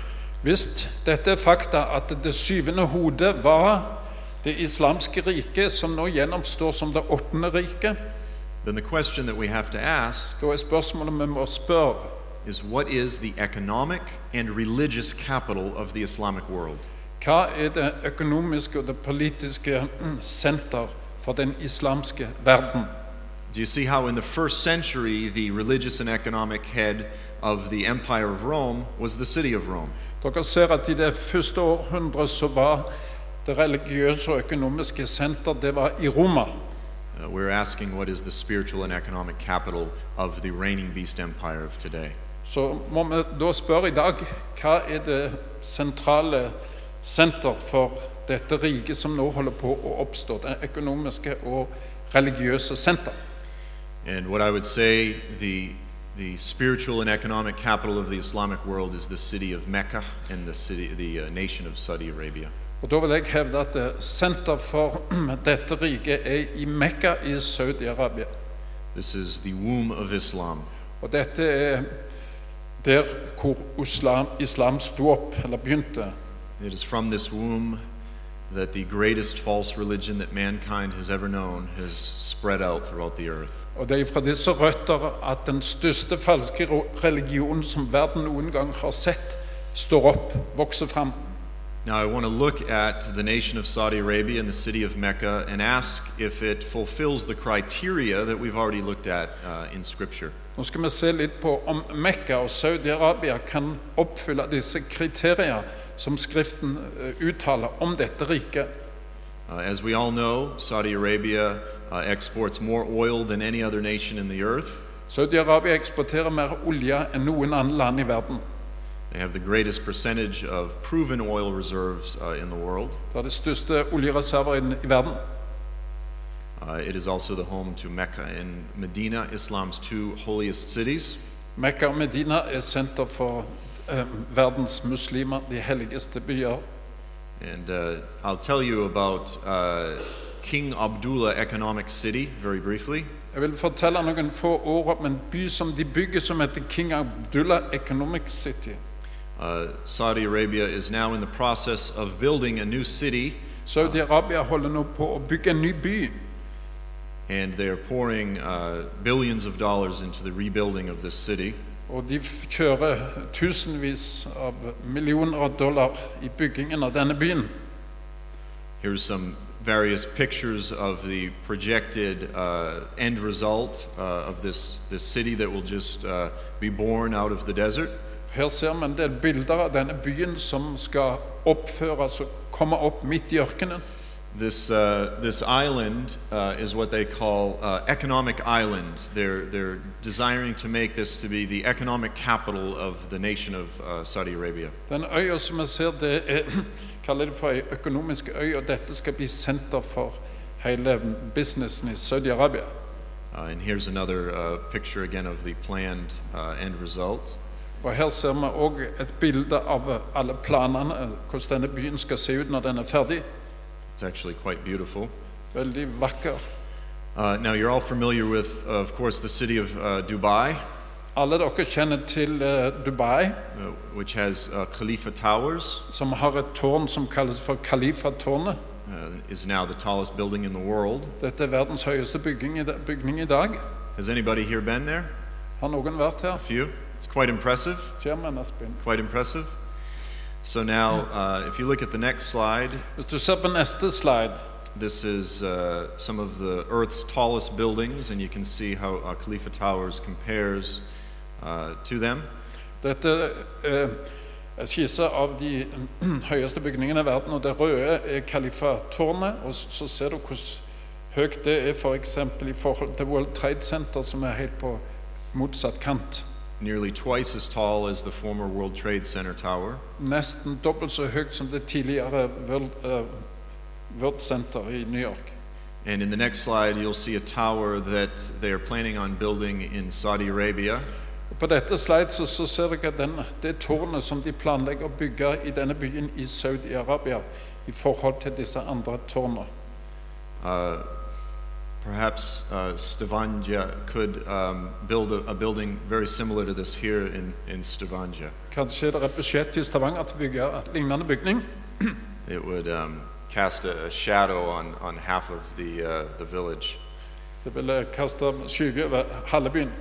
Hvis dette er fakta, at det syvende hodet var det islamske riket, som nå gjenoppstår som det åttende riket,
then the question that we have to ask
da er spørsmålet vi må spørre
is what is the economic and religious capital of the Islamic world?
Hva er det økonomiske og det politiske mm, senter for den islamske verden?
Do you see how in the first century the religious and economic head of the Empire of Rome was the city of Rome?
Dere ser at i det første århundret så var det religiøse og økonomiske senter det var i Roma.
Uh, we're asking what is the spiritual and economic capital of the reigning beast empire of today?
Så må vi da spørre i dag hva er det sentrale senter for dette riket som nå holder på å oppstå, det økonomiske og religiøse senter?
And what I would say the, the spiritual and economic capital of the Islamic world is the city of Mecca and the, city, the uh, nation of Saudi Arabia.
Og Da vil jeg hevde at eh, senter for dette riket er i Mekka i Saudi-Arabia.
This is the womb of Islam.
Og dette er der hvor islam, islam sto opp, eller begynte.
It is from this womb that the greatest false religion that mankind has ever known has spread out throughout the earth.
Og det er fra disse røtter at den største falske ro- religionen som verden noen gang har sett, står opp, vokser fram.
Now, I want to look at the nation of Saudi Arabia and the city of Mecca and ask if it fulfills the criteria that we've already looked at uh, in Scripture.
Nå skal vi se litt på om Mekka og Saudi-Arabia kan oppfylle disse kriterier som Skriften eh, uttaler om dette riket.
Uh, as we all know, Saudi Arabia uh, exports more oil than any other nation in the earth.
Saudi-Arabia eksporterer mer olje enn noen andre land i verden.
They have the greatest percentage of proven oil reserves uh, in the world.
Det er de største oljereserver i i verden.
Uh, it is also the home to Mecca and Medina, Islam's two holiest cities.
Mekka og Medina er senter for eh, verdens muslimer, de helligste byer.
And uh, I'll tell you about uh, King Abdullah Economic City very briefly.
Jeg vil fortelle noen få ord om en by som de bygger som heter King Abdullah Economic City.
Uh, Saudi Arabia is now in the process of building a new city,
Saudi-Arabia holder nå på å bygge en ny by,
and they are pouring uh, billions of dollars into the rebuilding of this city.
og de f- kjører tusenvis av millioner av dollar i byggingen av denne byen.
Here's some various pictures of the projected uh, end result uh, of this, this city that will just uh, be born out of the desert.
Her ser vi en del bilder av denne byen som skal oppføres og komme opp midt i ørkenen.
This, uh, this island uh, is what they call uh, economic island. They're, they're desiring to make this to be the economic capital of the nation of uh, Saudi Arabia.
Den øya som vi ser, det er, kaller det for ei økonomisk øy, og dette skal bli senter for hele businessen i Saudi-Arabia.
Uh, and here's another uh, picture again of the planned uh, end result.
Og her ser vi òg et bilde av alle planene, hvordan denne byen skal se ut når den er ferdig.
It's actually quite beautiful.
Veldig vakker.
Uh, now, you're all familiar with, uh, of course, the city of uh, Dubai,
Alle dere kjenner til eh, Dubai,
uh, which has uh, Khalifa Towers,
som har et tårn som kalles for Kalifatårnet.
uh, is now the tallest building in the world.
Dette er verdens høyeste bygging i, da- bygning i dag.
Has anybody here been there?
Har noen vært her?
A few? It's quite impressive.
Chairman Asbjørn.
Quite impressive. So now, uh, if you look at the next slide,
Hvis du ser på neste slide,
this is uh, some of the Earth's tallest buildings, and you can see how uh, Khalifa Towers compares uh, to them.
dette eh, er skisse av de høyeste bygningene i verden, og det røde er Kalifatårnet, og s- så ser du hvordan høyt det er for eksempel i forhold til World Trade Center, som er helt på motsatt kant.
Nearly twice as tall as the former World Trade Center Tower.
Nesten dobbelt så høyt som det tidligere World, eh, World Center i New York.
And in the next slide, you'll see a tower that they are planning on building in Saudi Arabia.
Og På dette slide så, så ser dere den, det tårnet som de planlegger å bygge i denne byen i Saudi-Arabia i forhold til disse andre tårnene.
Uh, perhaps uh, Stavanger could um, build a, a building very similar to this here in, in Stavanger.
Kanskje det er et budsjett i Stavanger til å bygge en lignende bygning?
It would um, cast a, a shadow on, on half of the, uh, the village.
Det ville kaste skygge over halve byen.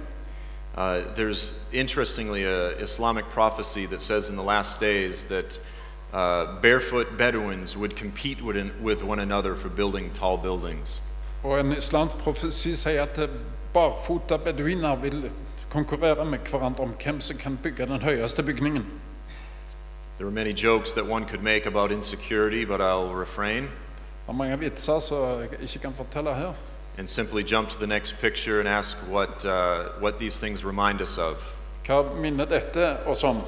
Uh, there's interestingly a Islamic prophecy that says in the last days that uh, barefoot Bedouins would compete with, an, with one another for building tall buildings.
Og en islamsk profesi sier at eh, barfota beduiner vil konkurrere med hverandre om hvem som kan bygge den høyeste bygningen.
There were many jokes that one could make about insecurity, but I'll refrain
Det er mange vitser som jeg ikke kan fortelle her.
and simply jump to the next picture and ask what, uh, what these things remind us of.
Hva minner dette oss om?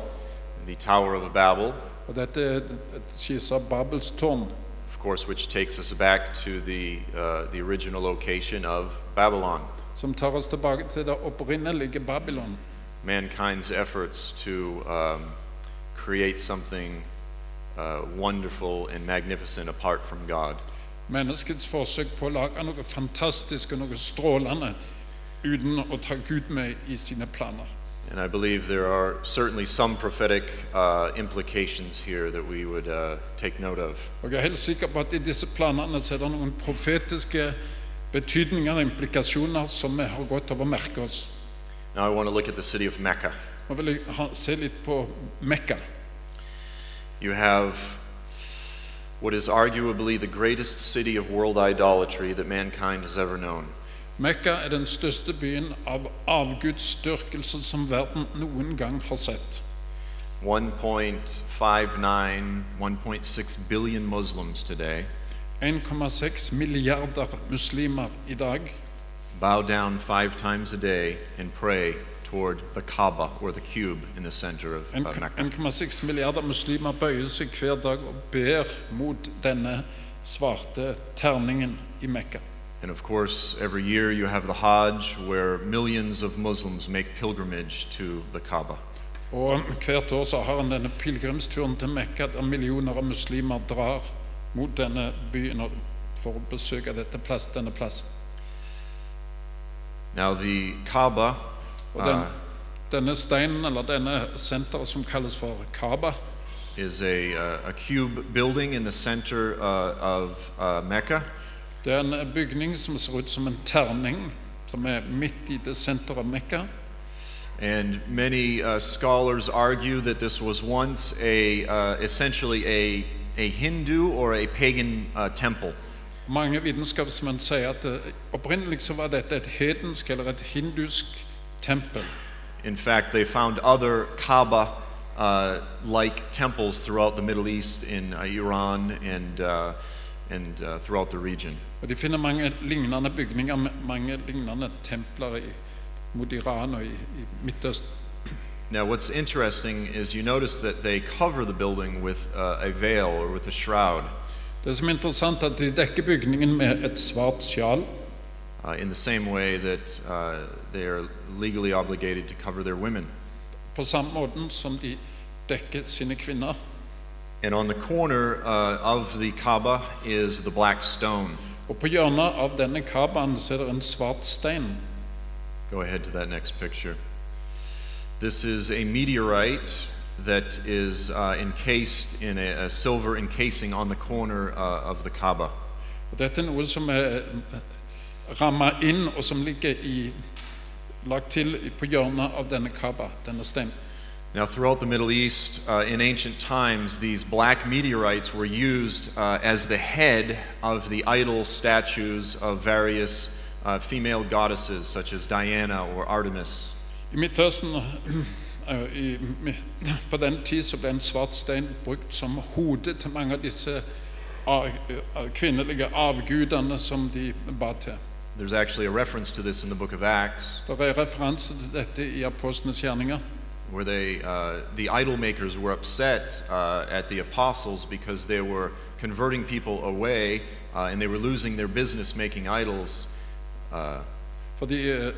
The Tower of Babel,
Og dette er et skisse av Babels tårn,
of course, which takes us back to the, uh, the original location of Babylon.
som tar oss tilbake til det opprinnelige Babylon.
mankind's efforts to um, create something uh, wonderful and magnificent apart from God.
Menneskets forsøk på å lage noe fantastisk og noe strålende uten å ta Gud med i sine planer.
And I believe there are certainly some prophetic uh, implications here that we would uh, take note of.
Og jeg er helt sikker på at i disse planene så er det noen profetiske betydninger og implikasjoner som vi har godt av å merke oss.
Now I want to look at the city of Mecca.
Nå vil jeg ha, se litt på Mekka.
You have what is arguably the greatest city of world idolatry that mankind has ever known.
Mekka er den største byen av avgudsdyrkelse som verden noen gang har sett.
1.59, 1.6 billion Muslims today
1,6 milliarder muslimer i dag
bow down five times a day and pray toward the Kaaba or the cube in the center of uh,
En-
Mecca.
1,6 milliarder muslimer bøyer seg hver dag og ber mot denne svarte terningen i Mekka.
And of course, every year you have the Hajj where millions of Muslims make pilgrimage to the Kaaba.
Og hvert år så har han denne pilegrimsturen til Mekka der millioner av muslimer drar mot denne byen og- for å besøke dette plass, denne plassen.
Now, the Kaaba,
Og den,
uh,
denne steinen, eller denne senteret som kalles for Kaaba,
is a, uh, a cube building in the center uh, of uh, Mecca.
det er en bygning som ser ut som en terning, som er midt i det senteret av Mekka.
And many uh, scholars argue that this was once a, uh, essentially a a Hindu or a pagan uh, temple.
Mange vitenskapsmenn sier at eh, opprinnelig så var dette et hedensk eller et hindusk tempel.
In fact, they found other Kaaba uh, like temples throughout the Middle East, in uh, Iran, and, uh, and uh, throughout the region.
Og de finner mange lignende bygninger, med mange lignende templer i, mot Iran og i, i Midtøsten.
Now, what's interesting is you notice that they cover the building with uh, a veil or with a shroud.
Det som er interessant, er at de dekker bygningen med et svart sjal.
Uh, in the same way that uh, they are legally obligated to cover their women.
På samme måten som de dekker sine kvinner.
And on the corner uh, of the Kaaba is the black stone.
Og på hjørnet av denne kabaen så er det en svart stein.
Go ahead to that next picture. This is a meteorite that is uh, encased in a, a silver encasing on the corner uh, of the Kaaba.
Og dette er noe som er rammet inn, og som ligger i, lagt til på hjørnet av denne kaba, denne steinen.
Now, throughout the Middle East, uh, in ancient times, these black meteorites were used uh, as the head of the idol statues of various uh, female goddesses, such as Diana or Artemis.
I Midtøsten eh, i, mi- på den tid så ble en svart stein brukt som hode til mange av disse a- eh, kvinnelige avgudene som de ba til.
There's actually a reference to this in the book of Acts.
Det er referanse til dette i apostlenes gjerninger.
where they, uh, the idol makers were upset uh, at the apostles because they were converting people away uh, and they were losing their business making idols. Uh,
Fordi eh,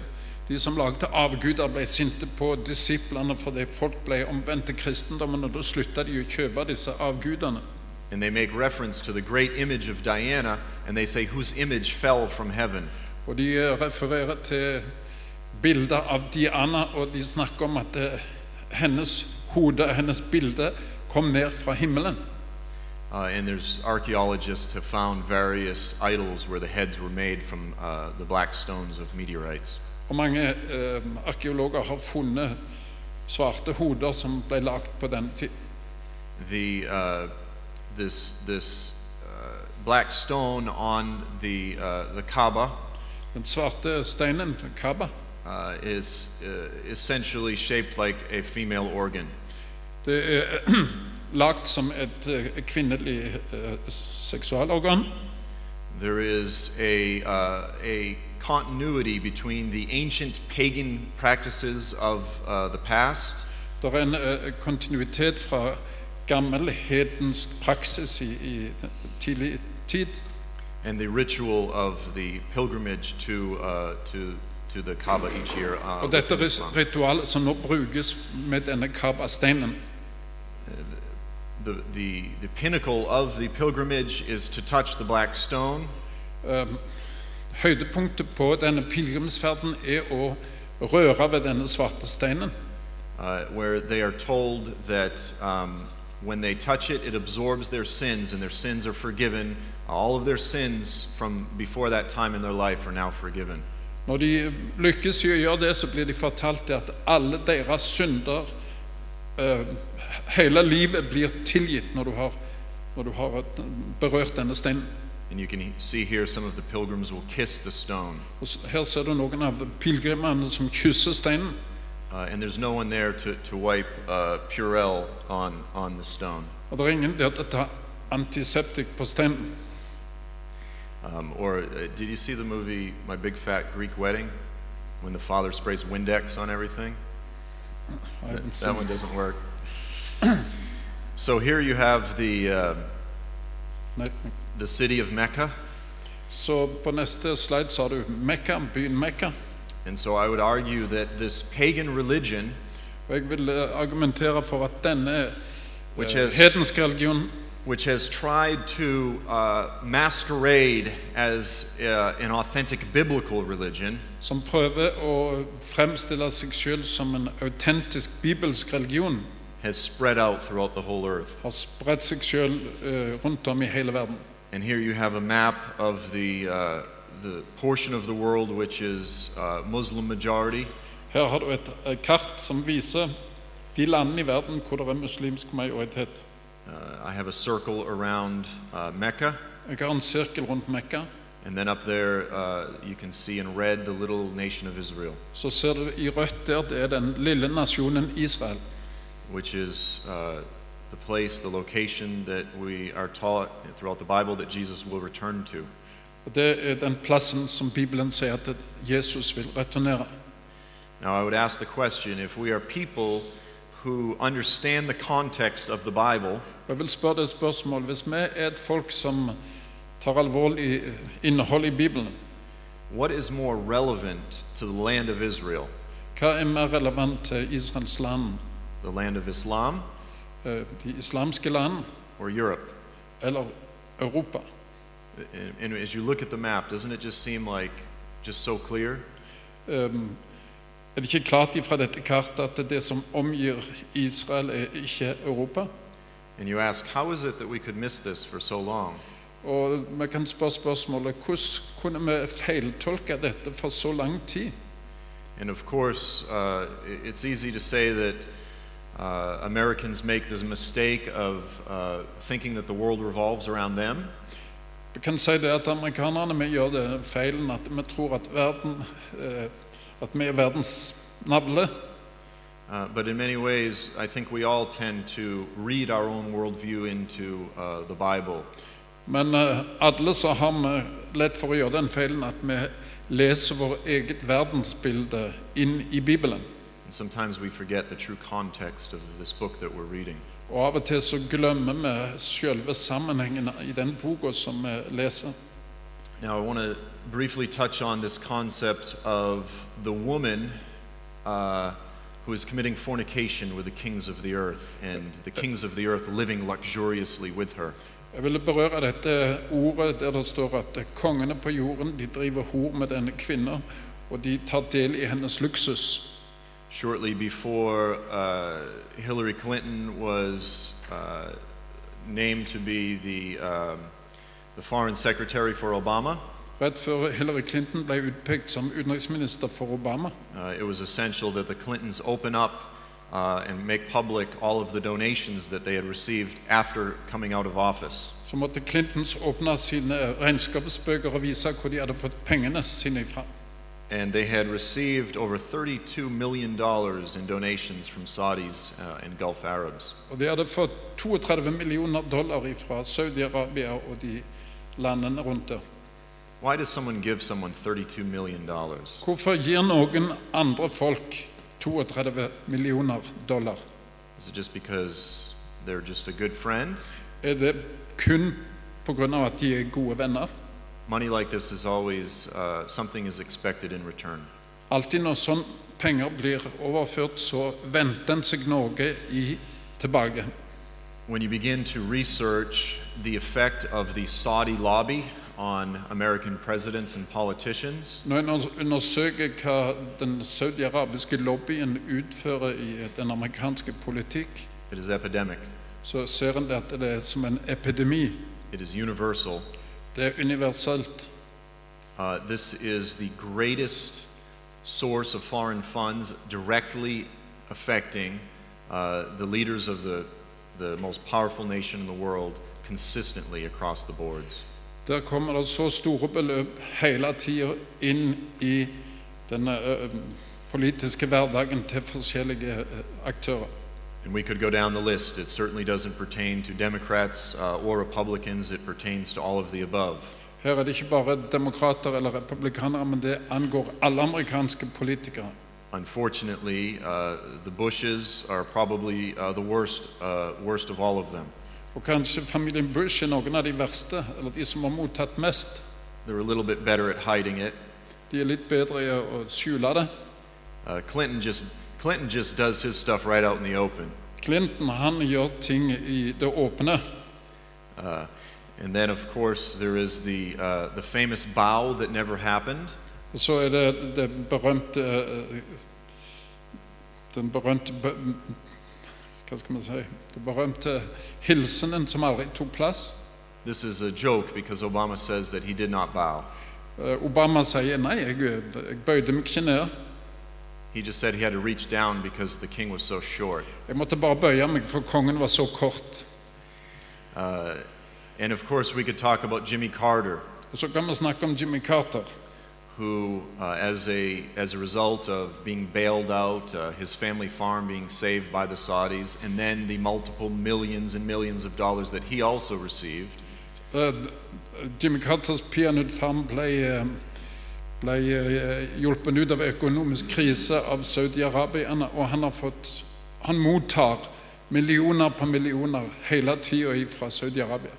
de som lagde avguder, ble sinte på disiplene fordi folk ble omvendt til kristendommen, og da slutta de å kjøpe disse avgudene.
and they make reference to the great image of Diana and they say, whose image fell from heaven.
Og de eh, refererer til bilder av Diana, og de snakker om at eh, hennes hode, hennes bilde, kom ned fra himmelen.
Uh, and there's archaeologists have found various idols where the heads were made from uh, the black stones of meteorites.
Og mange eh, arkeologer har funnet svarte hoder som ble lagd på denne tid.
the uh, this this uh, black stone on the uh, the Kaaba
Den svarte steinen, Kaaba,
uh, is uh, essentially shaped like a female organ.
det er lagd som et eh, kvinnelig eh, seksualorgan.
There is a uh, a continuity between the ancient pagan practices of uh, the past
Det er en eh, kontinuitet fra gammelhedensk praksis i, i tidlig tid.
and the ritual of the pilgrimage to uh, to to the Kaaba each year. Uh,
Og dette
within Islam.
ris- ritualet som nå brukes med denne kabasteinen
the, the the pinnacle of the pilgrimage is to touch the black stone.
Eh, Høydepunktet på denne pilegrimsferden er å røre ved denne svarte steinen.
uh, where they are told that um, when they touch it, it absorbs their sins, and their sins are forgiven. All of their sins from before that time in their life are now forgiven.
Når de lykkes i å gjøre det, så blir de fortalt det at alle deres synder eh, Hele livet blir tilgitt når du har, når du har et- berørt denne steinen.
And you can he- see here some of the pilgrims will kiss the stone,
Og s- her ser du noen av pilegrimene som kysser steinen.
uh, and there's no one there to, to wipe uh, Purell on, on the stone
Og det er ingen der til å ta antiseptikk på steinen.
Um, or uh, did you see the movie My Big Fat Greek Wedding when the father sprays Windex on everything?
I haven't
That
seen
one doesn't work. so here you have the. um
Nei.
the city of Mecca.
Så på neste slide så har du Mekka, byen Mekka.
And so I would argue that this pagan religion,
Og jeg vil eh, argumentere for at denne eh,
Which is-
hedenske religionen,
which has tried to uh, masquerade as uh, an authentic biblical religion,
som prøver å fremstille seg selv som en autentisk bibelsk religion,
has spread out throughout the whole earth.
har spredt seg selv eh, rundt om i hele verden.
And here you have a map of the, uh, the portion of the world which is uh, Muslim majority.
Her har du et eh, kart som viser de landene i verden hvor det er muslimsk majoritet.
Uh, I have a circle around uh, Mecca,
Jeg har en sirkel rundt Mekka.
and then up there uh, you can see in red the little nation of Israel,
Så ser du i rødt der, det er den lille nasjonen Israel.
which is uh, the place, the location that we are taught throughout the Bible that Jesus will return to.
Og Det er den plassen som Bibelen sier at Jesus vil returnere.
Now, I would ask the question if we are people who understand the context of the Bible,
Og Jeg vil spørre deg et spørsmål. Hvis vi er et folk som tar alvorlig eh, innhold i Bibelen,
what is more relevant to the land of Israel?
hva er mer relevant til Israels land?
The land of Islam
Eh, De islamske land
or Europe?
eller Europa?
And, and as you look at the map, doesn't it just seem like just so clear?
Ehm, Er det ikke klart ifra dette kartet at det som omgir Israel, er ikke Europa?
And you ask, how is it that we could miss this for so long?
Og vi kan spørre spørsmålet hvordan kunne vi feiltolke dette for så lang tid?
And of course, uh, i- it's easy to say that uh, Americans make the mistake of uh, thinking that the world revolves around them.
Vi kan si det at amerikanerne vi gjør det feilen at vi tror at verden eh, at vi er verdens navle.
Uh, but in many ways, I think we all tend to read our own worldview into uh, the Bible.
Men eh, alle så har vi lett for å gjøre den feilen at vi leser vår eget verdensbilde inn i Bibelen.
And sometimes we forget the true context of this book that we're reading.
Og av og til så glemmer vi selve sammenhengen i den boka som vi leser.
Now, I want to briefly touch on this concept of the woman uh, who is committing fornication with the kings of the earth and the kings of the earth living luxuriously with her.
Jeg ville berøre dette ordet der det står at kongene på jorden de driver hor med denne kvinnen, og de tar del i hennes luksus.
Shortly before uh, Hillary Clinton was uh, named to be the, um, the foreign secretary for Obama,
Rett før Hillary Clinton ble utpekt som utenriksminister for Obama,
uh, it was essential that the Clintons open up uh, and make public all of the donations that they had received after coming out of office.
så måtte Clintons åpne sine regnskapsbøker og vise hvor de hadde fått pengene sine ifra.
And they had received over $32 million in donations from Saudis uh, and Gulf Arabs.
Og de hadde fått 32 millioner dollar ifra Saudi-Arabia og de landene rundt der.
Why does someone give someone $32 million?
Hvorfor gir noen andre folk 32 millioner dollar?
Is it just because they're just a good friend?
Er det kun pga. at de er gode venner?
Money like this is always uh, something is expected in return.
Alltid når sånn penger blir overført, så venter en seg noe i tilbake.
When you begin to research the effect of the Saudi lobby on American presidents and politicians,
Når en undersøker hva den saudiarabiske lobbyen utfører i den amerikanske politikk,
it is epidemic.
så ser en at det er som en epidemi.
It is universal.
Det er universelt.
Uh, this is the greatest source of foreign funds directly affecting uh, the leaders of the, the most powerful nation in the world consistently across the boards.
Der kommer det så store beløp hele tida inn i den politiske hverdagen til forskjellige ø, aktører.
And we could go down the list. It certainly doesn't pertain to Democrats uh, or Republicans, it pertains to all of the above.
Her er det ikke bare demokrater eller republikanere, men det angår alle amerikanske politikere.
Unfortunately, uh, the Bushes are probably uh, the worst, uh, worst of all of them.
Og kanskje familien Bush er noen av de verste, eller de som har mottatt mest.
They're a little bit better at hiding it.
De er litt bedre i å skjule det.
Uh, Clinton just Clinton just does his stuff right out in the open,
Clinton han gjør ting i det åpne.
uh, and then of course there is the uh, the famous bow that never happened,
Og så er det det berømte eh, Den berømte be- Hva skal man si Den berømte hilsenen som aldri tok plass.
This is a joke because Obama says that he did not bow.
Eh, Obama sier nei, jeg, jeg bøyde meg ikke ned.
He just said he had to reach down because the king was so short.
Jeg måtte bare bøye meg, for kongen var så kort.
Uh, and of course, we could talk about Jimmy Carter,
Og så kan vi snakke om Jimmy Carter,
who, uh, as, a, as a result of being bailed out, uh, his family farm being saved by the Saudis, and then the multiple millions and millions of dollars that he also received,
Eh, Jimmy Carters peanøttfarm ble, eh, ble eh, hjulpet ut av økonomisk krise av Saudi-Arabia, og han har fått Han mottar millioner på millioner hele tida fra Saudi-Arabia.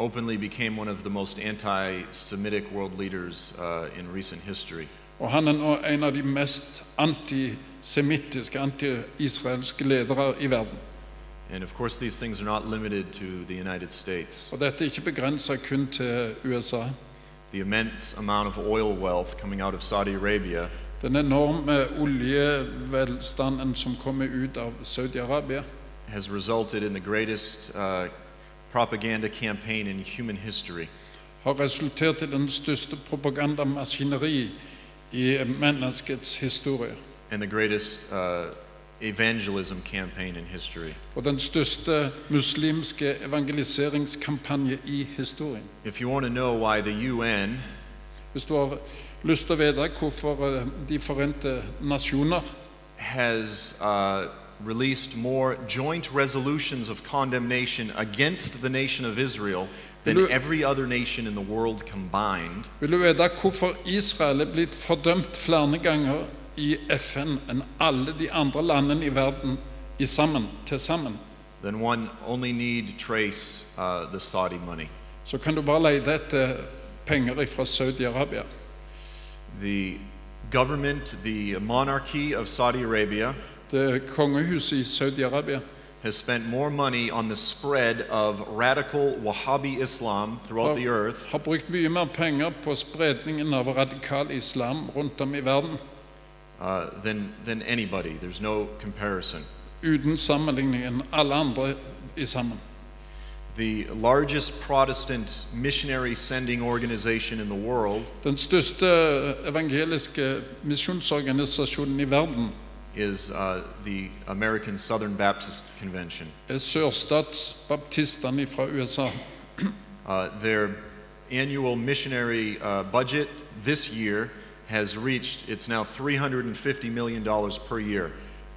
openly became one of the most anti Semitic world leaders uh, in recent history.
Og han er nå en av de mest antisemittiske, anti-israelske ledere i verden.
And of course, these things are not limited to the United States.
Og dette er ikke begrensa kun til USA.
The immense amount of oil wealth coming out of Saudi Arabia
Den enorme oljevelstanden som kommer ut av Saudi-Arabia,
has resulted in the greatest uh, propaganda campaign in human history.
har resultert i den største propagandamaskineri i menneskets historie.
and the greatest uh, evangelism campaign in history.
Og den største muslimske evangeliseringskampanje i historien.
If you want to know why the UN
Hvis du har lyst til å vite hvorfor eh, De forente nasjoner
has uh, released more joint resolutions of condemnation against the nation of Israel than
Lu-
every other nation in the world combined,
Vil du vite hvorfor Israel er blitt fordømt flere ganger i FN enn alle de andre landene i verden i sammen, til sammen,
then one only need trace uh, the Saudi money.
så kan du bare lete etter penger fra Saudi-Arabia.
The government, the monarchy of Saudi Arabia,
Det kongehuset i Saudi-Arabia
has spent more money on the spread of radical Wahhabi Islam throughout the earth
har brukt mye mer penger på spredningen av radikal islam rundt om i verden,
uh, than, than anybody. There's no comparison.
uten sammenligning enn alle andre i sammen.
The largest Protestant missionary sending organization in the world
Den største evangeliske misjonsorganisasjonen i verden
is uh, the American Southern Baptist Convention.
er sørstatsbaptistene fra USA.
Uh, their annual missionary uh, budget this year has reached, it's now $350 million per year.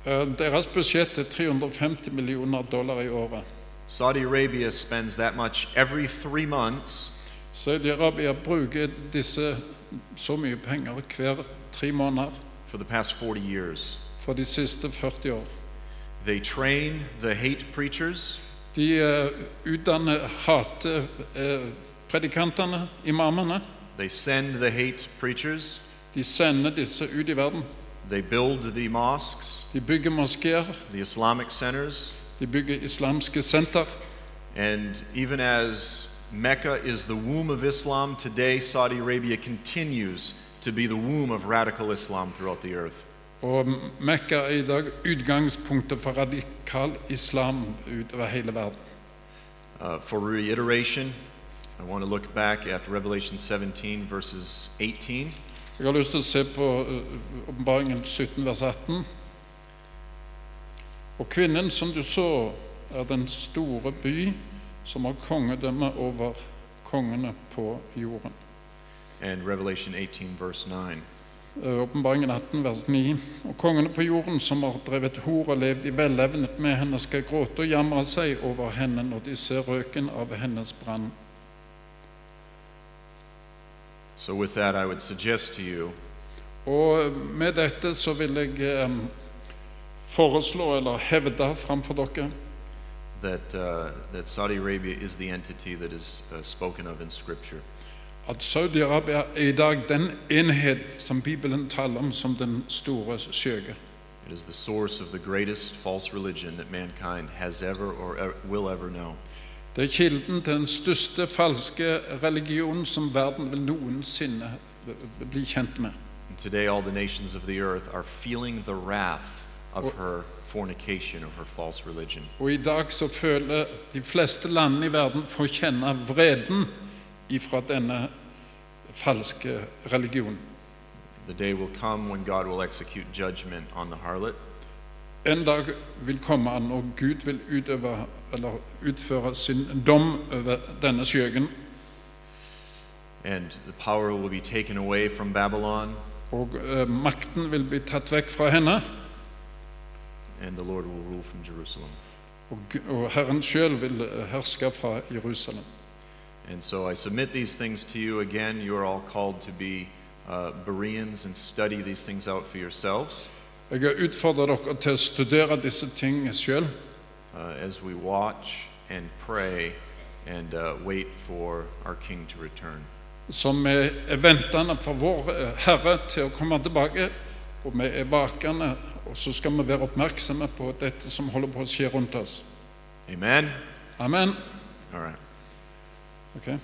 Eh, Deres budsjett er 350 millioner dollar i året.
Saudi Arabia spends that much every three months,
Saudi-Arabia bruker disse så mye penger hver tre måneder
for the past 40 years.
for de siste 40 år.
They train the hate preachers.
De eh, utdanner hatepredikantene, imamene.
They send the hate preachers.
De sender disse ut i verden.
They build the mosques,
De bygger moskeer,
the Islamic centers,
de bygger islamske senter.
and even as Mecca is the womb of Islam, today Saudi Arabia continues to be the womb of radical Islam throughout the earth.
Og Mekka er i dag utgangspunktet for radikal islam utover hele verden.
Uh, for reiteration, I want to look back at Revelation 17, verses 18.
Jeg har lyst til å se på eh, åpenbaringen 17, vers 18. Og kvinnen som du så, er den store by som har kongedømme over kongene på jorden.
And Revelation 18, verse 9.
Eh, Åpenbaringen 18, vers 9. Og kongene på jorden som har drevet hor og levd i velevnet med henne, skal gråte og jamre seg over henne når de ser røken av hennes brann.
So, with that, I would suggest to you
Og eh, med dette så vil jeg eh, foreslå eller hevde framfor dere
that, uh, that Saudi Arabia is the entity that is uh, spoken of in Scripture.
at Saudi-Arabia er i dag den enhet som Bibelen taler om som den store skjøge.
It is the source of the greatest false religion that mankind has ever or e- will ever know.
Det er kilden til den største falske religionen som verden vil noensinne bli kjent med.
And today, all the nations of the earth are feeling the wrath of her fornication or her false religion.
Og i dag så føler de fleste landene i verden får kjenne vreden ifra denne falske religionen.
The day will come when God will execute judgment on the harlot,
En dag vil komme han, og Gud vil utøve eller utføre sin dom over denne skjøgen,
and the power will be taken away from Babylon,
og eh, makten vil bli tatt vekk fra henne,
and the Lord will rule from Jerusalem.
og, G- og Herren sjøl vil eh, herske fra Jerusalem.
And so I submit these things to you again. You are all called to be uh, Bereans and study these things out for yourselves
Jeg har utfordret dere til å studere disse ting sjøl,
uh, as we watch and pray and uh, wait for our King to return.
som er er ventende for vår eh, Herre til å komme tilbake. Og vi er vakende, og så skal vi være oppmerksomme på dette som holder på å skje rundt oss.
Amen?
Amen.
All right.
Okay.